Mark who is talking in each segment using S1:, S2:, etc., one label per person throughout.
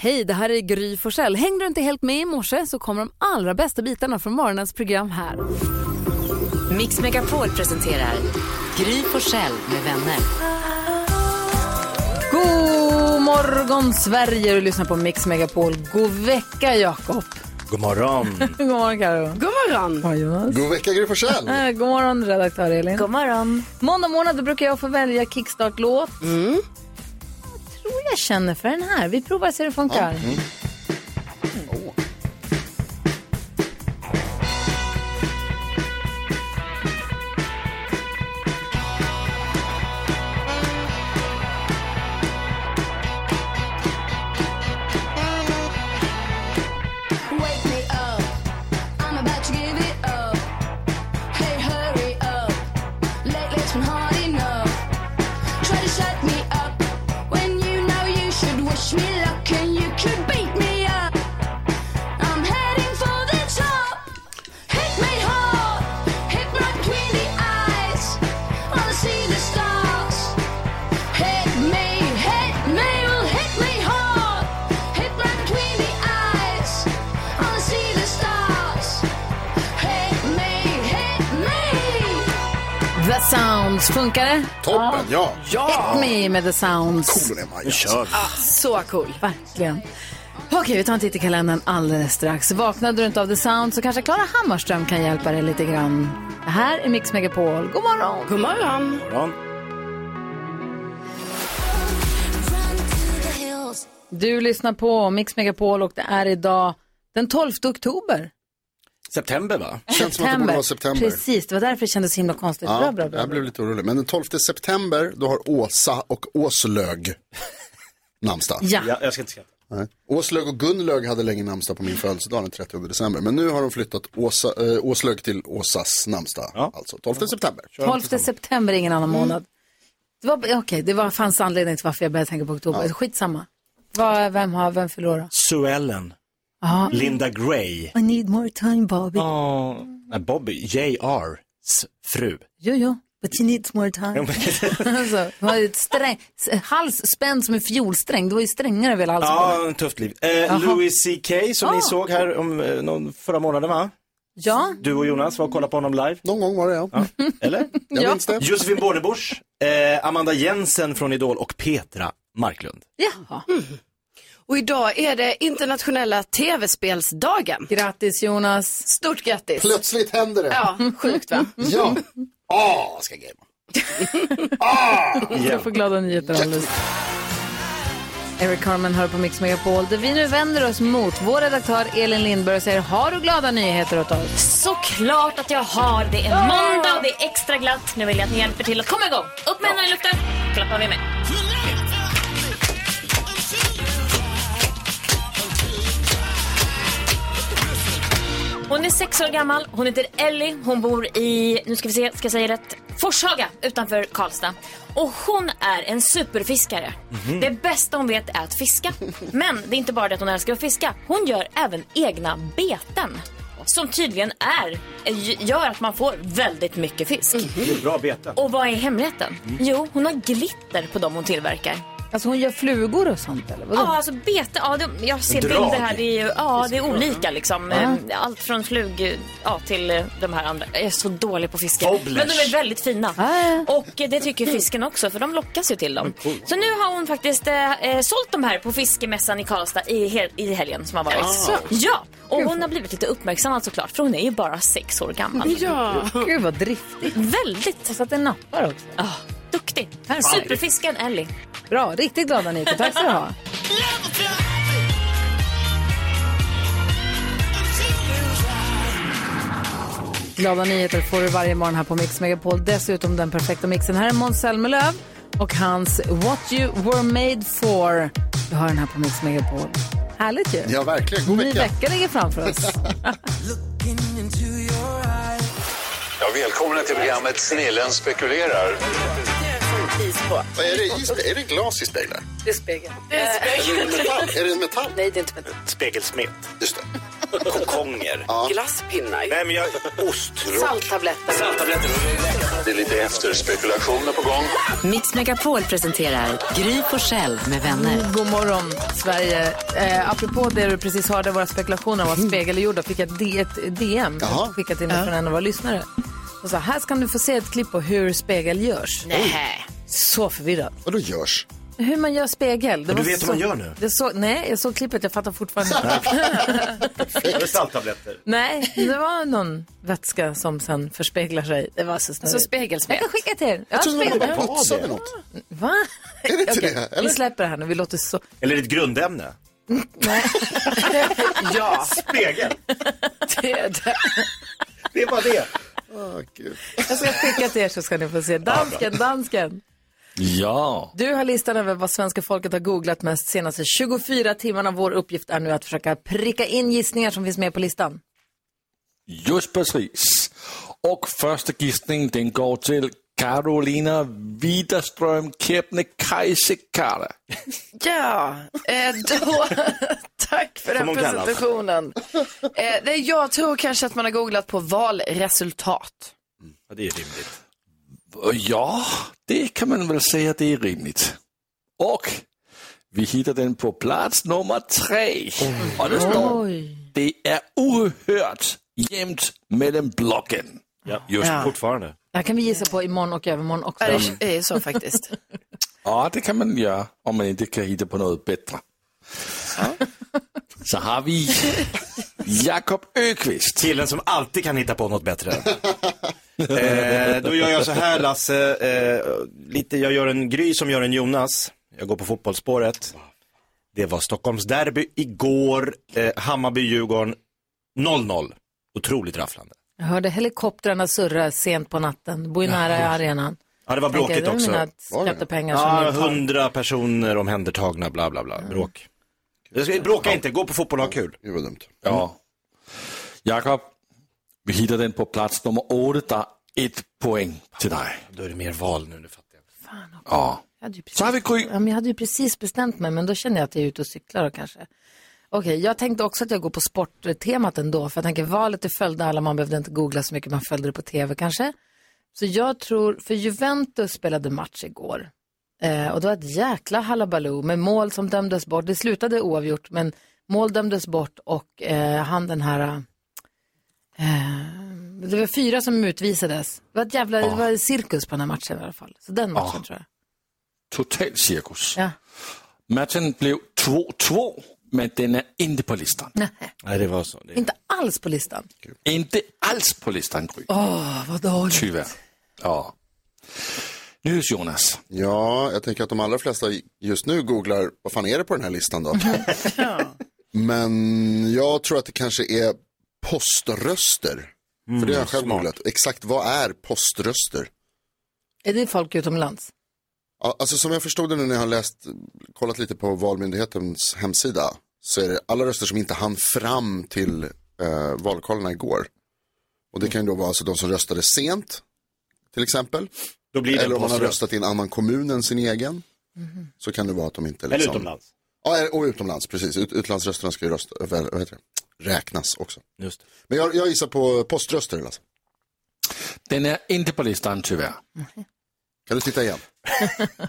S1: Hej, det här är Gry Forssell. Hängde du inte helt med i morse så kommer de allra bästa bitarna från morgonens program här.
S2: Mix Megapol presenterar Gry Forssell med vänner.
S1: God morgon Sverige, du lyssnar på Mix Megapol. God vecka Jakob.
S3: God morgon.
S1: God morgon Karo. God morgon. Jonas.
S3: God vecka Gry Forssell.
S1: Eh, God morgon redaktör Elin. God morgon. Måndag morgon då brukar jag få välja kickstart-låt. Jag tror jag känner för den här. Vi provar så det funkar.
S4: mm.
S5: Wake me up, I'm about to give it up. Hey, hurry up, lately's been hard enough. Try to shut me up when you know you should wish me luck and you could beat me up. I'm heading for the top. Hit me hard, hit right between the eyes. Wanna see the stars? Hit me, hit me, well hit me hard, hit right between the eyes. Wanna see the stars? Hit me, hit me.
S1: The Sounds, funkar det?
S3: Toppen, ja.
S1: Hit me med The Sounds.
S3: Cool är alltså. man, ja.
S2: Så cool.
S1: Verkligen. Okej, vi tar en titt i kalendern alldeles strax. Vaknade du inte av The Sound så kanske Klara Hammarström kan hjälpa dig lite grann. Det här är Mix Megapol. God morgon!
S2: God morgon.
S1: Du lyssnar på Mix Megapol och det är idag den 12 oktober.
S6: September va?
S3: Känns som att det borde vara september.
S1: Precis, det var därför det kändes så himla konstigt.
S3: Ja,
S1: bra, bra, bra.
S3: jag blev lite orolig. Men den 12 september, då har Åsa och Åslög namnsdag.
S1: Ja.
S6: Ja, jag ska inte skratta.
S3: Nej. Åslög och Gunnlög hade länge namnsdag på min födelsedag den 30 december. Men nu har de flyttat Åsa, eh, Åslög till Åsas namnsdag.
S6: Ja.
S3: Alltså 12 september.
S1: 12 september är ingen annan
S2: Mm.
S1: månad. Det var, okej, det var, fanns anledning till varför jag började tänka på oktober. Skitsamma. Vad- vem har, vem fyller år då?
S6: Sue Ellen.
S1: Ja.
S6: Linda Gray.
S1: I need more time, Bobby.
S6: Oh. Nej, Bobby. J.R. s fru.
S1: Jo, jo, but you need more time. alltså, det var ju ett sträng, s- hals spänd som en fiolsträng. Det var ju strängare över hela halsen.
S6: Ja, ett tufft liv. Eh, Louis CK som ni såg här om, eh, någon, förra månaden va?
S1: Ah. Ja,
S6: Du och Jonas var och kollade på honom live.
S3: Någon gång var det ja.
S6: Ja. Eller?
S3: Jag minns det.
S6: Josefin Bornebusch, eh, Amanda Jensen från Idol och Petra Marklund.
S1: jaha.
S7: Och idag är det internationella tv-spelsdagen.
S1: Grattis Jonas.
S7: Stort grattis!
S3: Plötsligt händer det.
S7: Ja, sjukt va?
S3: Ja. Ah, ska jag gamea.
S1: Jag får glada nyheter alldeles. Eric Carmen hör på Mix Megapol där vi nu vänder oss mot vår redaktör Elin Lindberg och säger har du glada nyheter åt oss?
S8: Såklart att jag har. Det är måndag och det är extra glatt. Nu vill jag att ni hjälper till att komma igång. Upp med händerna i luften. Klappar vi med. Hon är sex år gammal. Hon heter Ellie. Hon bor i, nu ska vi se, ska jag säga rätt, Forshaga utanför Karlstad. Och hon är en superfiskare. Det bästa hon vet är att fiska. Men det är inte bara det att hon älskar att fiska. Hon gör även egna beten. Som tydligen är, gör att man får väldigt mycket fisk.
S6: Det är bra Mm. bete.
S8: Och vad är hemligheten? Jo, hon har glitter på dem hon tillverkar.
S1: Alltså hon gör flugor och sånt eller? Vadå?
S8: Ja, alltså bete. Ja, det, jag ser
S6: Drag.
S8: bilder här. Det är, ju- ja, det är olika liksom. Eh, Allt från flug ja, till eh, de här andra. Jag är så dålig på fiske.
S6: Wobblers.
S8: Men de är väldigt fina.
S1: Ah,
S8: Och eh, det tycker fisken också, för de lockas ju till dem. Så nu har hon faktiskt eh, eh, sålt de här på fiskemässan i Karlstad i, hel- i helgen som har
S3: Ah.
S8: varit. Ja, och hon har blivit lite uppmärksammad såklart, för hon är ju bara sex år gammal.
S7: Ja.
S1: Gud vad driftigt.
S8: Väldigt
S1: Så att det nappar också.
S8: ah, duktig.
S1: Perfekt.
S8: Superfisken Ellie.
S1: Bra, riktigt glada nyheter. Tack ska du ha. Glada nyheter får du varje morgon här på Mix Megapol. Dessutom den perfekta mixen. Här är Måns Zelmerlöw och hans What You Were Made For. Du hör den här på Mix Megapol. Härligt ju.
S3: Ja, verkligen. God
S1: Ny
S3: vecka.
S1: vecka ligger framför oss.
S9: Ja, välkomna till programmet Snillen spekulerar.
S3: Vad är det i spe- Är det glas i speglar?
S1: Det är spegeln. Eh.
S3: Är det metall? Är det metall?
S1: Nej, det är inte med
S6: Spegelsmet.
S3: Just det.
S6: Kokonger.
S7: Glasspinnar.
S6: Nej men jag... Ost.
S7: Salttabletter.
S6: Salttabletter.
S9: Det är lite efterspekulationer på gång.
S2: Mix Megapol presenterar Gry Forssell med vänner.
S1: Mm, God morgon, Sverige. Eh, apropå det du precis hörde, våra spekulationer om vad spegel är gjord av, fick jag ett D- ett DM
S2: Jaha.
S1: skickat in från en av våra lyssnare. Och så här ska du få se ett klipp på hur spegel görs.
S2: Nej.
S1: Så förvirrad.
S3: Och då görs?
S1: Hur man gör spegel.
S6: Men du
S1: var
S6: vet hur
S1: så-
S6: man gör nu?
S1: Det så, nej, jag såg klippet, jag fattar fortfarande inte.
S6: Var det salttabletter?
S1: nej, det var någon vätska som sen förspeglar sig. Det var så snurrigt.
S7: Alltså spegelspel.
S1: Jag kan skicka till er.
S3: Jag trodde det
S1: speglar.
S3: var putsade något.
S1: Va?
S3: Är det inte
S1: Okej,
S3: det? Eller?
S1: Vi släpper det här nu, vi låter så...
S6: Eller är det ett grundämne?
S7: Ja,
S6: Spegel!
S7: det är det.
S6: Det är bara det.
S3: Åh, gud.
S1: Jag ska skicka till er så ska ni få se. Dansken, dansken.
S10: Ja.
S1: Du har listan över vad svenska folket har googlat mest senaste 24 timmarna. Vår uppgift är nu att försöka pricka in gissningar som finns med på listan.
S10: Just precis. Och första gissningen den går till Carolina Widerström Kebnekaise Kara.
S7: Ja, eh, då, tack för den
S6: hon kallas.
S7: presentationen. Eh, det, jag tror kanske att man har googlat på valresultat.
S6: Ja, det är rimligt.
S10: Ja, det kan man väl säga det är rimligt. Och vi hittar den på plats nummer tre. Och det står det är ohört jämnt mellan blocken.
S6: Ja.
S10: Just
S7: Ja.
S6: Fortfarande.
S1: Det här kan vi gissa på imorgon och övermorgon också.
S7: Ja, det är så faktiskt.
S10: Ja, det kan man göra om man inte kan hitta på något bättre. Så har vi Jakob Öqvist.
S6: Killen som alltid kan hitta på något bättre. eh, då gör jag så här Lasse, eh, lite, jag gör en Gry som gör en Jonas. Jag går på fotbollsspåret. Det var Stockholms derby igår, eh, Hammarby-Djurgården 0-0. Otroligt rafflande.
S1: Jag hörde helikoptrarna surra sent på natten. Bor ju nära arenan.
S6: Ja, det var
S1: Tänker,
S6: bråkigt
S1: det är
S6: också.
S1: mina skattepengar som
S6: Ja,
S1: jag tar.
S6: Ah, hundra personer omhändertagna, bla bla bla. Bråk. Jag ska- Bråka inte, gå på fotboll och ha kul.
S3: Gud vad dumt.
S10: Ja. Jakob, vi hittar den på plats nummer åtta. Där ett poäng till dig.
S6: Då är det mer val nu, nu fattar jag.
S10: Ja.
S1: Jag hade ju precis-
S10: Så har vi Gry.
S1: Ja, men jag hade ju precis bestämt mig, men då känner jag att jag är ute och cyklar och kanske. Okej, jag tänkte också att jag går på sporttemat ändå, för jag tänker valet det följde alla, man behövde inte googla så mycket, man följde det på tv kanske. Så jag tror, för Juventus spelade match igår. Eh, och det var ett jäkla hallabaloo med mål som dömdes bort. Det slutade oavgjort, men mål dömdes bort och eh, han den här... Eh, det var fyra som utvisades. Det var ett jävla
S10: Ah.
S1: det var cirkus på den här matchen i alla fall. Så den matchen tror jag.
S10: Total cirkus.
S1: Ja.
S10: Matchen blev 2-2, men den är inte på listan.
S6: Nej, det var så. Det...
S1: Inte alls på listan.
S10: Inte alls på listan, Gry.
S1: Åh, vad dåligt.
S10: Tyvärr. Ja. Nu Jonas.
S3: Ja, jag tänker att de allra flesta just nu googlar, vad fan är det på den här listan då? Men jag tror att det kanske är poströster. För
S10: Mm,
S3: det har jag själv googlat. Exakt vad är poströster?
S1: Är det folk utomlands?
S3: Ja, Alltså som jag förstod det nu när jag har läst, kollat lite på Valmyndighetens hemsida så är det alla röster som inte hann fram till eh, vallokalerna igår. Och det kan ju då vara alltså de som röstade sent, till exempel.
S6: Då blir det
S3: Eller
S6: en
S3: om man har
S6: poströst.
S3: röstat i en annan kommun än sin egen. Så kan det vara att de inte liksom...
S6: Eller utomlands.
S3: Ja, eller- och utomlands, precis. Ut, utlandsrösterna ska ju rösta, väl, vad heter det? räknas också.
S6: Just det.
S3: Men jag, jag gissar på poströster, Lasse.
S10: Den är inte på listan tyvärr.
S3: Kan du titta igen?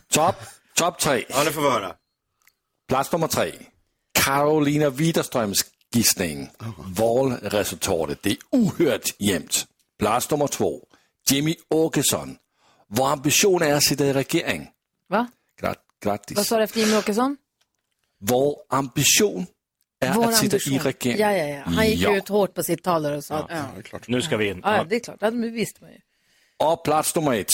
S10: Topp top tre.
S6: Ja, nu får vi höra.
S10: Plats nummer tre. Carolina Widerströms gissning.
S3: Oh.
S10: Valresultatet. Det är ohört jämnt. Plats nummer två. Jimmy Åkesson. Vår ambition är att sitta i regering.
S1: Va?
S10: Grat-
S1: Vad
S10: Grattis.
S1: sa du efter Jimmie Åkesson?
S10: Vår ambition är
S1: Vår
S10: Äh, att sitta i
S1: ambition.
S10: regering.
S1: Ja, ja, ja. Han gick
S10: Ja. Mm.
S1: ut hårt på sitt tal där och sa att, ja.
S6: Nu ska vi in.
S1: Ja, det är klart. Ja, men visste man ju.
S10: Och plats nummer ett.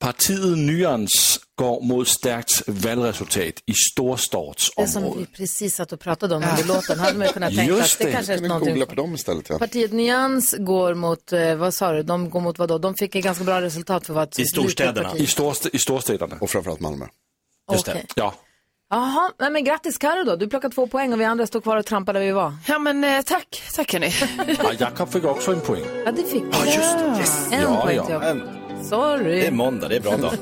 S10: Partiet Nyans går mot stärkt valresultat i
S1: Det som vi
S10: storstadsområdet.
S1: precis satt och pratade om under låten hade man ju kunnat tänka
S10: Just
S1: att det
S10: det.
S1: kanske
S3: Kan
S1: är
S3: du googla
S1: någonting.
S3: på dem istället? Ja.
S1: Partiet Nyans går mot, eh, vad sa du, de går mot vad då? De fick ett ganska bra resultat för vad
S6: I storstäderna.
S10: I, storst- I storstäderna.
S3: Och framförallt Malmö.
S1: Just
S10: Ja.
S1: Jaha, nej men grattis Karo då. Du plockade två poäng och vi andra stod kvar och trampade där vi var.
S7: Ja, men eh, tack, tack hörni.
S10: Ja, Jakob fick också en poäng.
S1: Ja, det fick vi.
S6: Ja, just det. Yes.
S1: En
S10: Ja,
S1: poäng
S10: ja.
S1: till jag.
S6: En- Det är
S1: Sorry.
S6: måndag, det är bra dag.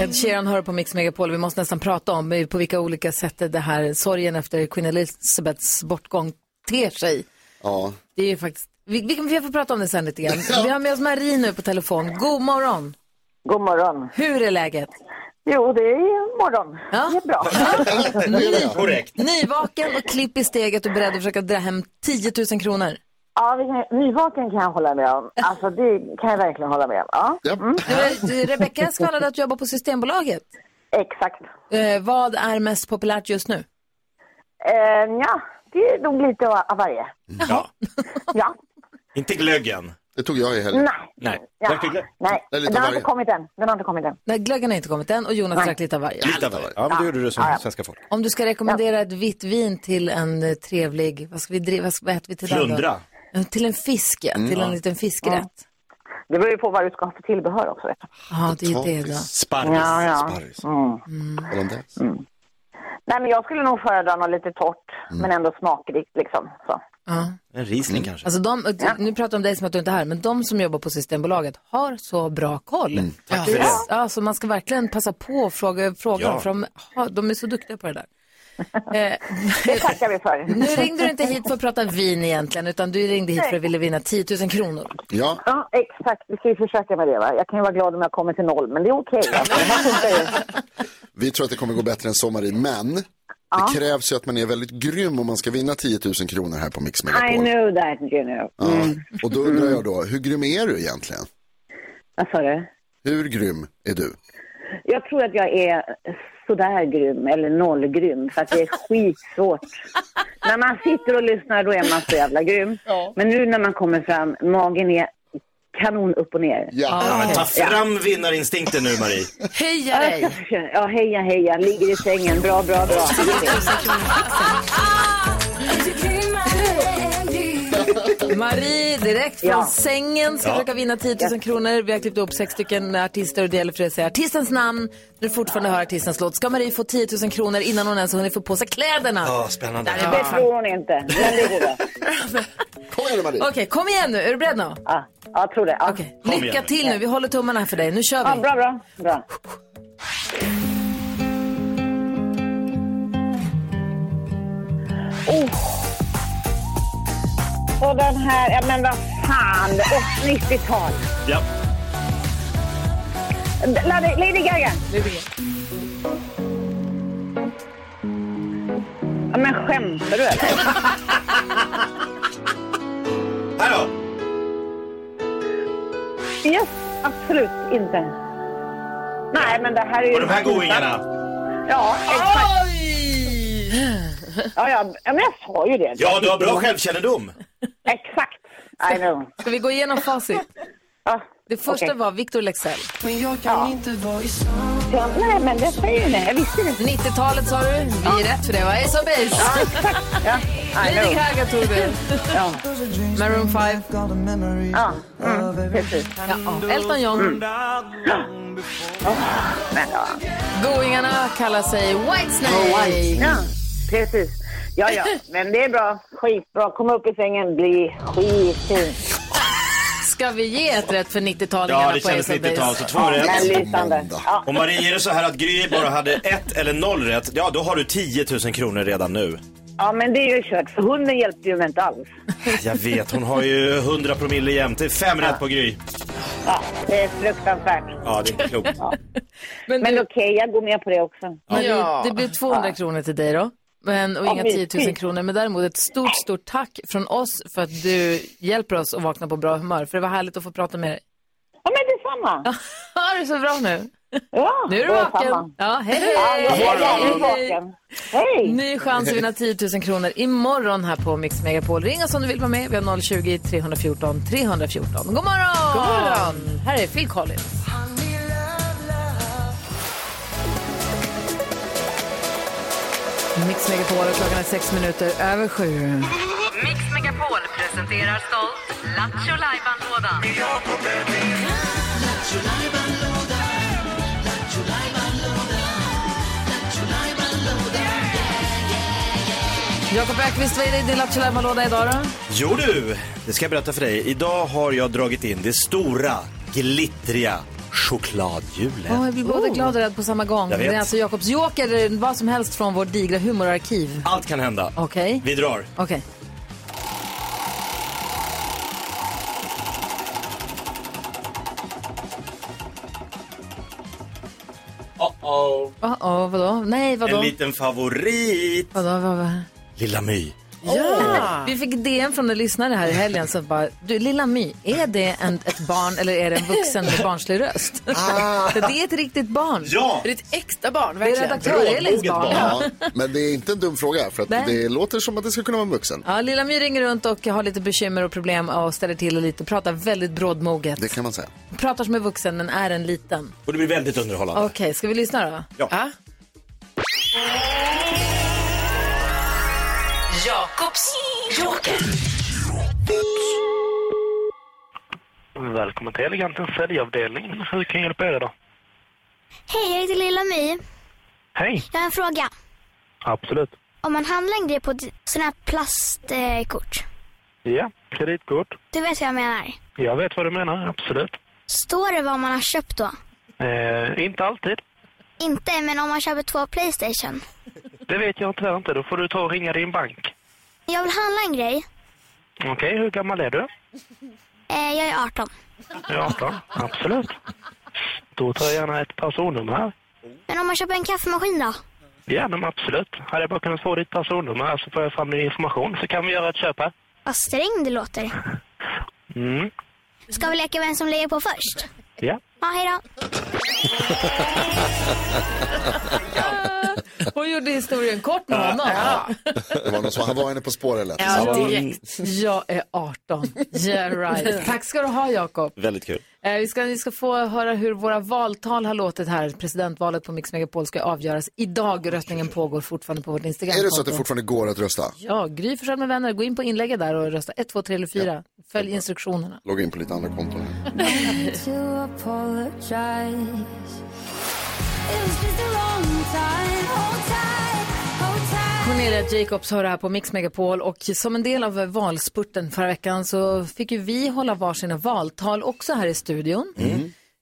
S1: Ed Sheeran hör på Mix Megapol. Vi måste nästan prata om eh, på vilka olika sätt det här sorgen efter Queen Elizabeths bortgång ter sig.
S3: Ja.
S1: Det är ju faktiskt, vi, vi, kan- vi får prata om det sen lite grann. Vi har med oss Marie nu på telefon. God morgon!
S11: God morgon.
S1: Hur är läget?
S11: Jo, det är morgon.
S1: Ja.
S11: Det är bra.
S6: Korrekt.
S1: Nyvaken och klipp i steget och beredd att försöka dra hem 10 000 kronor.
S11: Ja, vi kan- nyvaken kan jag hålla med om. Alltså, det kan jag verkligen hålla med om. Ja, Mm.
S3: Ja.
S1: Du, du, Rebecka skvallrade att du jobbar på Systembolaget.
S11: exakt.
S1: Eh, vad är mest populärt just nu?
S11: Eh, ja, det är nog lite av av varje.
S6: Ja.
S11: Ja,
S6: Inte glöggen.
S3: Det tog jag i helgen.
S11: nej.
S6: Nej.
S11: Ja.
S6: Drack du glögg?
S11: Nej,
S3: Det är lite av
S11: den har
S3: varje.
S11: inte kommit än. Den har inte kommit än.
S1: Nej, glöggen har inte kommit än och Jonas drack lite av varje.
S6: Lite av varje. Ja, men då gjorde du som svenska folk.
S1: Om du ska rekommendera ett vitt vin till en eh, trevlig, vad ska vi driva, vad, ska, vad äter vi till den då?
S6: Plundra.
S1: Eh, Till en fisk, ja.
S3: Mm,
S1: till en liten fiskrätt.
S11: Det beror ju på vad du ska ha för tillbehör också. Vet du.
S1: Ja, det är det då.
S6: Sparris.
S11: Ja, ja. Mm.
S6: Sparris.
S3: Hollandaise.
S11: Nej, men jag skulle nog föredra något lite torrt,
S3: Mm.
S11: men ändå smakrikt liksom. Så.
S1: Ja.
S6: En risling kanske.
S1: Alltså de, eh, Nu pratar jag om dig som att du inte är här, men de som jobbar på Systembolaget har så bra koll.
S6: Tack för det.
S1: Ja, så man ska verkligen passa på att fråga, fråga
S6: Ja.
S1: dem, för de, ha, de är så duktiga på det där. Eh,
S11: Det tackar vi för.
S1: nu ringde du inte hit för att prata vin egentligen, utan du ringde hit för att ville vinna 10 000 kronor.
S3: Ja,
S11: Ja, exakt. Vi ska ju försöka med det. Va? Jag kan ju vara glad om jag kommer till noll, men det är okej. alltså. Det här funkar ju.
S3: vi tror att det kommer gå bättre än sommar i, men det krävs ju att man är väldigt grym om man ska vinna 10 000 kronor här på Mix
S11: I
S3: Megapol.
S11: knew that, you know. Mm.
S3: Ja.
S1: Mm.
S3: Och då undrar jag då, hur grym är du egentligen?
S11: Vad sa du?
S3: Hur grym är du?
S11: Jag tror att jag är sådär grym, eller nollgrym, för att det är skitsvårt. när man sitter och lyssnar då är man så jävla grym. Men nu när man kommer fram, magen är kanon upp och ner.
S3: Ja,
S6: Men ta fram vinnarinstinkten nu Marie.
S7: Heja
S11: Jag
S7: dig!
S11: ska försöka- Ja, heja, heja, ligger i sängen, bra, bra, bra.
S1: Marie, direkt från
S11: Ja.
S1: sängen, ska försöka vinna 10 000 kronor. Vi har klippt upp sex stycken artister och det gäller för dig att säga artistens namn. När du fortfarande hör artistens låt ska Marie få 10 000 kronor innan hon ens har hunnit få på sig kläderna.
S6: Ja, spännande.
S11: Det tror hon inte, men det går bra.
S3: kom igen nu, Marie.
S1: Okej, kom igen nu. Är du beredd nu?
S11: Ja, jag tror det. Ja.
S1: Okej,
S6: Kom igen
S1: lycka
S6: nu.
S1: till nu. Vi håller tummarna här för dig. Nu kör
S11: Ja,
S1: vi.
S11: bra, bra, bra. Oh. Och den här, ja men vad fan, Åh, 90-tal.
S6: Ja.
S11: Lady, Lady Gaga. Ja, men skämtar du eller?
S6: Här då.
S11: Yes, absolut inte. Nej, men det här är ju...
S6: Och de här goingarna.
S11: Ja, exakt. Ja, ja, ja, men jag sa ju det.
S6: Ja, du har bra självkännedom.
S11: Exakt. I know.
S1: Ska vi gå igenom facit?
S11: Ja,
S1: Det första
S11: okej.
S1: var Victor Lexell.
S11: Ja, nej, men det säger ni. Jag visste det.
S1: 90-talet sa du. Vi är rätt för det, va? Ace of Base.
S11: Ja, I
S1: Lady
S11: know.
S1: Gaga tog du.
S11: Ja.
S1: Maroon 5.
S11: Ja, mm, precis. Mm.
S1: Ja, Elton John.
S11: Men, ja.
S1: Goingarna kallar sig Whitesnake.
S11: ja, precis. Ja, ja, men det är bra. Skitbra. Kom upp i sängen. Bli skitfin.
S1: Ska vi ge ett rätt för 90-talingarna
S6: Ja, det
S1: på
S6: kändes
S1: Ace of
S6: 90-tal,
S1: Base?
S6: så två
S11: Men
S6: rätt.
S11: lysande. Ja,
S6: Om Marie är det så här att Gry bara hade ett eller noll rätt, ja då har du 10 000 kronor redan nu.
S11: ja, men det är ju kört. För hunden hjälpte ju mig inte alls.
S6: Jag vet, hon har ju 100 promille jämt. Det är fem rätt på Gry.
S11: Ja, det är fruktansvärt.
S6: Ja, det är inte klokt.
S1: Men,
S11: Men
S1: du,
S11: okej, jag går med på det också.
S1: men det, det blir 200 kronor till dig då. Men, och inga
S11: men typ.
S1: 10 000
S11: fint.
S1: kronor. Men däremot ett stort, stort tack från oss för att du hjälper oss att vakna på bra humör. För det var härligt att få prata med dig.
S11: Ja, men detsamma.
S1: Ha det så bra nu.
S11: Ja,
S1: Nu är du vaken.
S11: detsamma.
S1: Ja, hej,
S11: Ja, jag
S1: hej.
S11: är jävligt vaken. Hej!
S1: Ny chans att vinna 10 000 kronor imorgon här på Mix Megapol. Ring oss om du vill vara med. Vi har 020-314 314. 314. God morgon! God morgon! Här är Phil Collins. Mix Megapol och klockan är sex minuter över sju.
S2: Mix Megapol presenterar stolt Lattjo Lajban-lådan.
S1: Jakob Ökvist, vad är det i din Lattjo Lajban-låda idag då?
S6: Jo du, det ska jag berätta för dig. Idag har jag dragit in det stora, glittriga Chokladhjulet.
S1: Åh, jag blir både glad och rädd på samma gång.
S6: Jag vet.
S1: Det är alltså Jakobs joker, eller vad som helst från vårt digra humorarkiv.
S6: Allt kan hända.
S1: Okej.
S6: Vi drar.
S1: Okej.
S10: Uh-oh.
S1: Uh-oh, vadå? Nej, vadå?
S6: En liten favorit.
S1: Vadå, vad, vad?
S6: Lilla My.
S1: Ja! Vi fick DM från en lyssnare här i helgen som bara, du lilla My, är det en, ett barn eller är det en vuxen med barnslig röst? För det är ett riktigt barn.
S3: Ja!
S7: Det är ett äkta barn,
S1: Det är
S7: verkligen.
S1: redaktör Elins barn.
S3: Ja, men det är inte en dum fråga för att
S1: Nej.
S3: det låter som att det skulle kunna vara en vuxen.
S1: Ja, lilla My ringer runt och har lite bekymmer och problem och ställer till och lite, pratar väldigt brådmoget.
S3: Det kan man säga.
S1: Pratar som en vuxen men är en liten.
S6: Och det blir väldigt underhållande.
S1: Okej, ska vi lyssna då?
S6: Ja.
S2: Jakobs joker.
S4: Välkommen till Elegantens säljavdelning. Hur kan jag hjälpa er idag?
S12: Hej, jag heter Lilla My.
S4: Hej!
S12: Jag har en fråga.
S4: Absolut.
S12: Om man handlar en grej på ett sånt här plastkort,
S4: Ja, kreditkort.
S12: du vet vad jag menar.
S4: Jag vet vad du menar, absolut.
S12: Står det vad man har köpt då?
S4: Eh, inte alltid.
S12: Inte, men om man köper två Playstation.
S4: Det vet jag tyvärr inte. Då får du ta och ringa din bank.
S12: Jag vill handla en grej.
S4: Okej, hur gammal är du?
S12: Eh, jag är 18.
S4: Jag är 18. Absolut. Då tar jag gärna ett personnummer här.
S12: Men om man köper en kaffemaskin då?
S4: Ja, men absolut. Hade jag bara kunnat få ditt personnummer här så får jag fram din information så kan vi göra ett köp här.
S12: Vad sträng det låter.
S4: Mm.
S12: Ska vi leka vem som lägger på först?
S4: Ja.
S12: Ja, hej då.
S1: Hon gjorde historien kort med honom.
S3: Det var någon som, han var henne på spåret lätt.
S1: Ja,
S6: Mm.
S1: direkt. Jag är 18. Yeah right. Tack ska du ha, Jakob.
S6: Väldigt kul.
S1: Eh, vi, ska, vi ska få höra hur våra valtal har låtit här. Presidentvalet på Mix Megapol ska avgöras idag. Röstningen pågår fortfarande på vårt Instagram.
S3: Är det så att det fortfarande går att rösta?
S1: Ja, Gry Forssell med vänner. Gå in på inlägget där och rösta 1, 2, 3 eller 4. Följ instruktionerna.
S3: Logga in på lite andra konton.
S1: Cornelia Jacobs hör här på Mix Megapol och som en del av valspurten förra veckan så fick ju vi hålla varsina valtal också här i studion.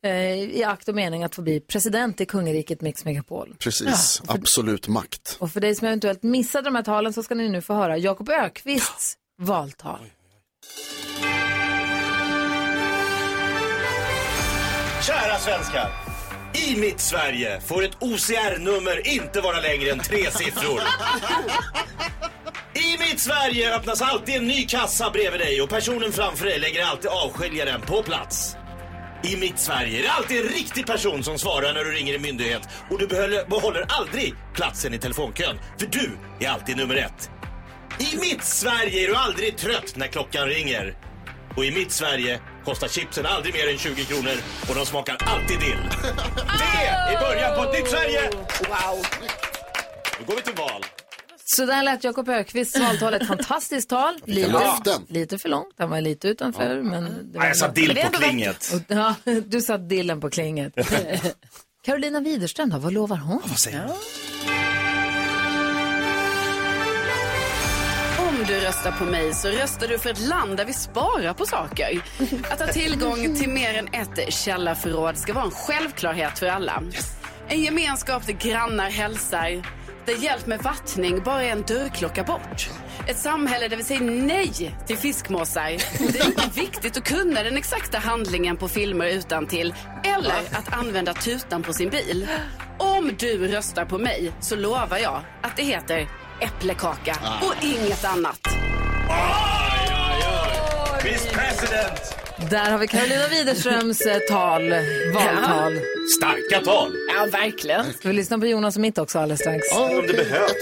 S1: Eh, I akt och mening att få bli president i kungariket Mix Megapol.
S3: Precis,
S1: Ja, för-
S3: absolut makt.
S1: Och för dig som eventuellt missade de här talen så ska ni nu få höra Jakob Ökvists valtal.
S6: Kära svenskar! I mitt Sverige får ett OCR-nummer inte vara längre än tre siffror. I mitt Sverige öppnas alltid en ny kassa bredvid dig och personen framför dig lägger alltid avskiljaren på plats. I mitt Sverige är det alltid en riktig person som svarar när du ringer en myndighet och du behåller, behåller aldrig platsen i telefonkön, för du är alltid nummer ett. I mitt Sverige är du aldrig trött när klockan ringer. Och i mitt Sverige kostar chipsen aldrig mer än 20 kronor och de smakar alltid dill. Det är början på ett nytt Sverige! Wow! Nu går vi till val.
S1: Så där lät Jakob Ökvists valtal, ett fantastiskt tal. Lite,
S6: löften.
S1: lite för långt, han var lite utanför. Men det var
S6: Nej, jag sa
S1: något.
S6: dill
S1: Men det är
S6: på
S1: ändå vackert.
S6: klinget.
S1: Och, ja, du satt dillen på klinget. Carolina Widerström då, vad lovar hon?
S6: vad säger
S1: hon?
S13: Om du röstar på mig så röstar du för ett land där vi sparar på saker. Att ha tillgång till mer än ett källarförråd ska vara en självklarhet för alla. En gemenskap där grannar hälsar, där hjälp med vattning bara är en dörrklocka bort. Ett samhälle där vi säger nej till fiskmåsar. Det är inte viktigt att kunna den exakta handlingen på filmer utan till eller att använda tutan på sin bil. Om du röstar på mig så lovar jag att det heter äpplekaka
S7: Ah.
S13: och inget annat.
S6: Miss President!
S1: Där har vi Carolina Widerströms eh, tal, valtal.
S6: Starka tal!
S13: Ja, verkligen.
S1: Ska vi lyssna på Jonas och mitt också alldeles strax?
S6: Om det behövs.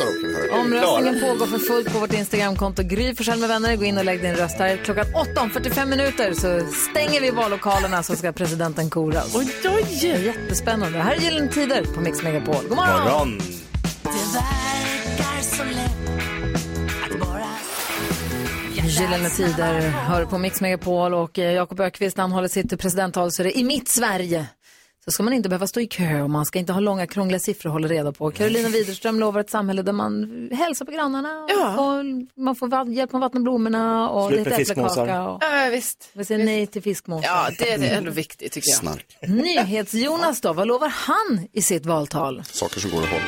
S1: Omröstningen pågår för fullt på vårt Instagramkonto Gry Forssell med vänner. Gå in och lägg din röst här. Klockan 8 om 45 minuter så stänger vi vallokalerna så ska presidenten koras. Oj, oj. Jättespännande. Här är Gyllene Tider på Mix Megapol. God morgon!
S6: Morgon.
S1: Gyllene Tider hör på Mix Megapol och eh, Jakob Ökvist när han håller sitt presidenttal så är det i mitt Sverige. Då ska man inte behöva stå i kö och man ska inte ha långa krångliga siffror att hålla reda på. Carolina Widerström lovar ett samhälle där man hälsar på grannarna och får, man får vatt- hjälp med att vattna blommorna och
S7: Slut med
S1: lite äppelkaka.
S7: fiskmåsar.
S1: Och...
S7: Ja, visst.
S1: Vi säger nej till fiskmåsar.
S7: Ja, det är ändå viktigt tycker jag.
S3: Snark.
S1: NyhetsJonas då, vad lovar han i sitt valtal?
S3: Saker som går att hålla.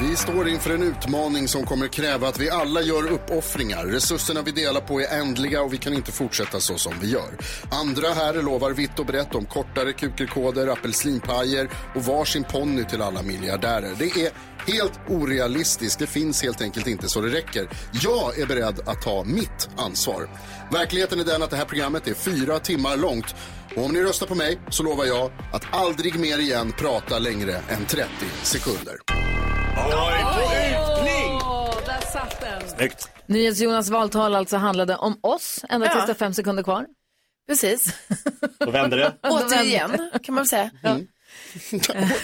S3: Vi står inför en utmaning som kommer kräva att vi alla gör uppoffringar. Resurserna vi delar på är ändliga och vi kan inte fortsätta så som vi gör. Andra här lovar vitt och brett om kortare kukelkoder, apelsinpajer och varsin ponny till alla miljardärer. Det är helt orealistiskt. Det finns helt enkelt inte så det räcker. Jag är beredd att ta mitt ansvar. Verkligheten är den att det här programmet är fyra timmar långt. Och om ni röstar på mig så lovar jag att aldrig mer igen prata längre än 30 sekunder.
S1: Där satt den.
S6: Snyggt.
S1: NyhetsJonas valtal alltså handlade om oss, ända tills
S7: Ja.
S1: det är fem sekunder kvar.
S7: Precis.
S6: Då vänder det.
S7: Återigen kan man väl säga.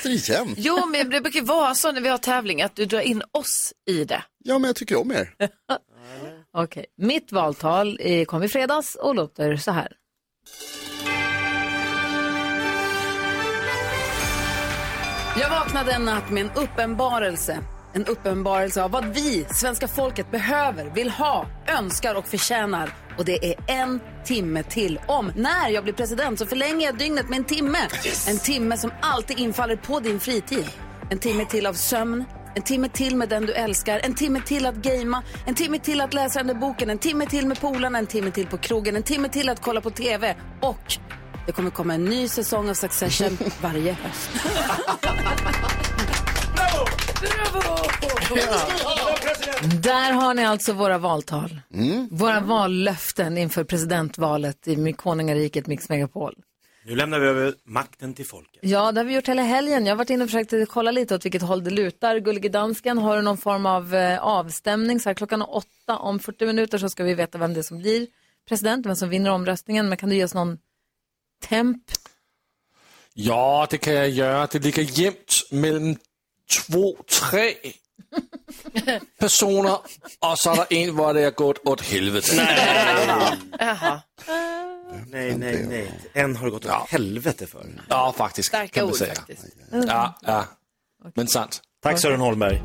S3: Återigen.
S7: Jo, men det brukar vara så när vi har tävling att du drar in oss i det.
S3: Ja, men jag tycker om er.
S1: Okej, mitt valtal eh, kom i fredags och låter så här. Jag vaknade en natt med en uppenbarelse. En uppenbarelse av vad vi, svenska folket, behöver, vill ha, önskar och förtjänar. Och det är en timme till. Om när jag blir president så förlänger jag dygnet med en timme. En timme som alltid infaller på din fritid. En timme till av sömn. En timme till med den du älskar. En timme till att gamea. En timme till att läsa den där boken. En timme till med polarna. En timme till på krogen. En timme till att kolla på TV. Och det kommer komma en ny säsong av Succession varje höst. Där har ni alltså våra valtal. Våra vallöften inför presidentvalet i My- konungariket Mix Megapol.
S6: Nu lämnar vi över makten till folk.
S1: Ja, det har vi gjort hela helgen. Jag har varit inne och försökt kolla lite åt vilket håll det lutar. Gullige dansken, har du någon form av eh, avstämning? Så här klockan åtta om 40 minuter så ska vi veta vem det är som blir president, vem som vinner omröstningen. Men kan du ge oss någon temp?
S10: Ja, det kan jag göra. Det ligger jämnt mellan två, tre personer och så är det en var det har gått åt helvete.
S7: Jaha.
S6: Nej, nej, nej. En har gått åt helvete för.
S10: Ja, faktiskt.
S7: Starka
S10: kan man
S7: ord,
S10: säga.
S7: faktiskt.
S10: Ja, ja. Men sant.
S6: Tack Sören Holmberg.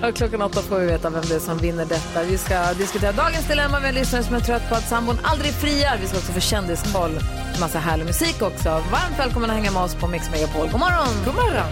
S1: Ja, klockan åtta får vi veta vem det är som vinner detta. Vi ska diskutera dagens dilemma med en lyssnare som är trött på att sambon aldrig friar. Vi ska också få kändiskoll. Massa härlig musik också. Varmt välkommen att hänga med oss på Mix Megapol. God morgon! God morgon!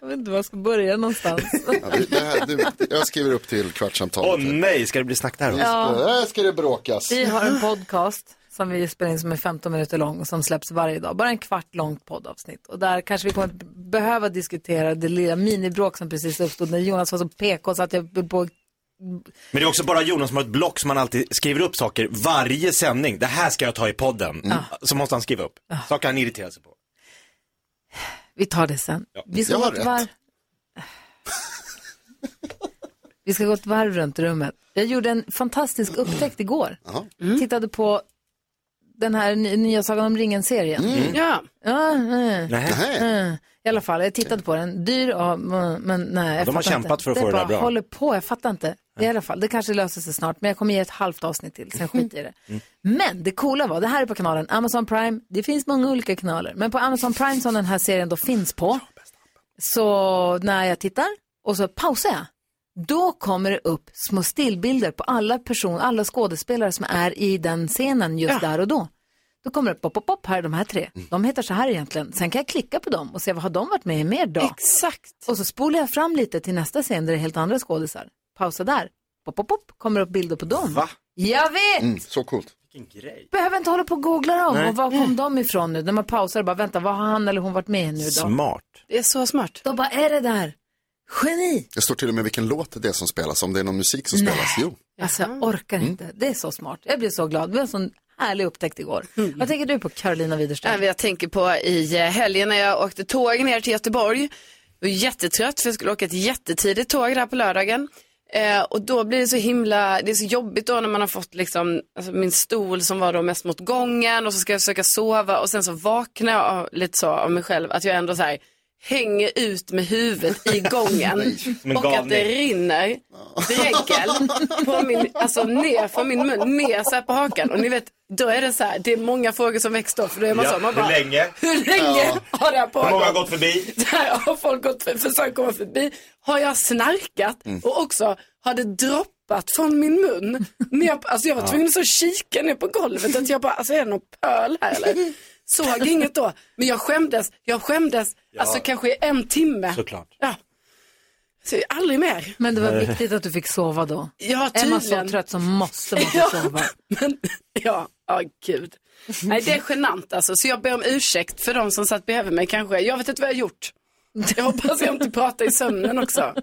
S1: Jag vet inte var jag ska börja någonstans.
S3: Ja, det- det här, det, jag skriver upp till kvartsamtalet.
S6: Åh nej, ska det bli snack där?
S3: Just
S1: Ja.
S3: det, Här ska det bråkas.
S1: Vi har en podcast som vi spelar in som är 15 minuter lång och som släpps varje dag. Bara en kvart långt poddavsnitt. Och där kanske vi kommer att behöva diskutera det lilla minibråk som precis uppstod när Jonas var så PK så att jag höll på
S6: Men det är också bara Jonas som har ett block som han alltid skriver upp saker varje sändning. Det här ska jag ta i podden.
S7: Mm.
S6: Så måste han skriva upp.
S7: Ah.
S6: Saker han irriterar sig på.
S1: Vi tar det sen. Vi ska,
S6: Jag
S1: gå
S6: har
S1: ett
S6: rätt.
S1: varv... vi ska gå ett varv runt rummet. Jag gjorde en fantastisk upptäckt igår. Mm. Tittade på den här ny- nya Sagan om ringen-serien.
S7: Mm. Ja.
S1: Ja, mm.
S6: Nähä.
S1: Mm. I alla fall, jag tittade på den. Dyr, ja, mm, men nej. jag
S6: de har
S1: fattar
S6: kämpat
S1: inte.
S6: för att få det där
S1: bara
S6: bra.
S1: håller på, jag fattar inte. I alla fall, det kanske löser sig snart, men jag kommer ge ett halvt avsnitt till, sen skiter jag i det.
S6: Mm.
S1: Men det coola var, det här är på kanalen Amazon Prime, det finns många olika kanaler, men på Amazon Prime som den här serien då finns på, så när jag tittar och så pausar jag, då kommer det upp små stillbilder på alla personer, alla skådespelare som är i den scenen just där och då. Då kommer det pop, pop, pop, här är de här tre. De heter så här egentligen. Sen kan jag klicka på dem och se vad har de varit med i mer då?
S7: Exakt.
S1: Och så spolar jag fram lite till nästa scen där det är helt andra skådisar. Pausa där. Pop, pop, pop, kommer upp bilder på dem. Va? Jag vet!
S3: Mm, så coolt.
S6: Vilken grej.
S1: Behöver inte hålla på och googla dem.
S6: Nej.
S1: Och var kom de ifrån nu? När man pausar och bara, vänta, vad har han eller hon varit med i nu då?
S6: Smart.
S7: Det är så smart.
S1: Då bara, är det där? Geni!
S3: Det står till och med vilken låt det är som spelas, om det är någon musik som
S1: Nej.
S3: spelas. Jo.
S1: Alltså jag orkar
S6: Mm.
S1: inte. Det är så smart. Jag blev så glad. Det var en sån härlig upptäckt igår.
S7: Mm.
S1: Vad tänker du på Carolina Widerström?
S7: Nej, men Jag tänker på i eh, helgen när jag åkte tåg ner till Göteborg. Jag var jättetrött för jag skulle åka ett jättetidigt tåg där på lördagen. Eh, och då blir det så himla, det är så jobbigt då när man har fått liksom, alltså min stol som var då mest mot gången och så ska jag försöka sova och sen så vaknar jag av, lite så av mig själv att jag ändå så här hänger ut med huvudet i gången
S13: Men
S7: och att det
S13: galning.
S7: rinner dregel på min, alltså ner från min mun, ner så här på hakan. Och ni vet, då är det så här, det är många frågor som väcks då, för då är man så, man bara,
S6: hur länge?
S7: Hur länge har det här
S6: Hur många har
S7: pågått?
S6: gått förbi?
S7: Där har folk gått för, försökt komma förbi. Har jag snarkat
S6: Mm.
S7: och också har det droppat från min mun. Ner på, alltså jag var
S13: Ja.
S7: tvungen att så kika ner på golvet. Att jag bara, alltså är det någon pöl här eller? Såg inget då. Men jag skämdes, jag skämdes.
S1: Ja.
S7: Alltså kanske i en timme.
S6: Såklart.
S7: Ja. Så aldrig mer.
S1: Men det var
S7: Nej.
S1: viktigt att du fick sova då.
S7: Ja,
S1: är man så
S7: tydligen.
S1: trött så måste man få
S7: Ja.
S1: sova.
S7: Ja, ja gud. Nej, det är genant alltså. Så jag ber om ursäkt för de som satt bredvid mig kanske. Jag vet inte vad jag har gjort. Jag hoppas jag inte pratar i sömnen också.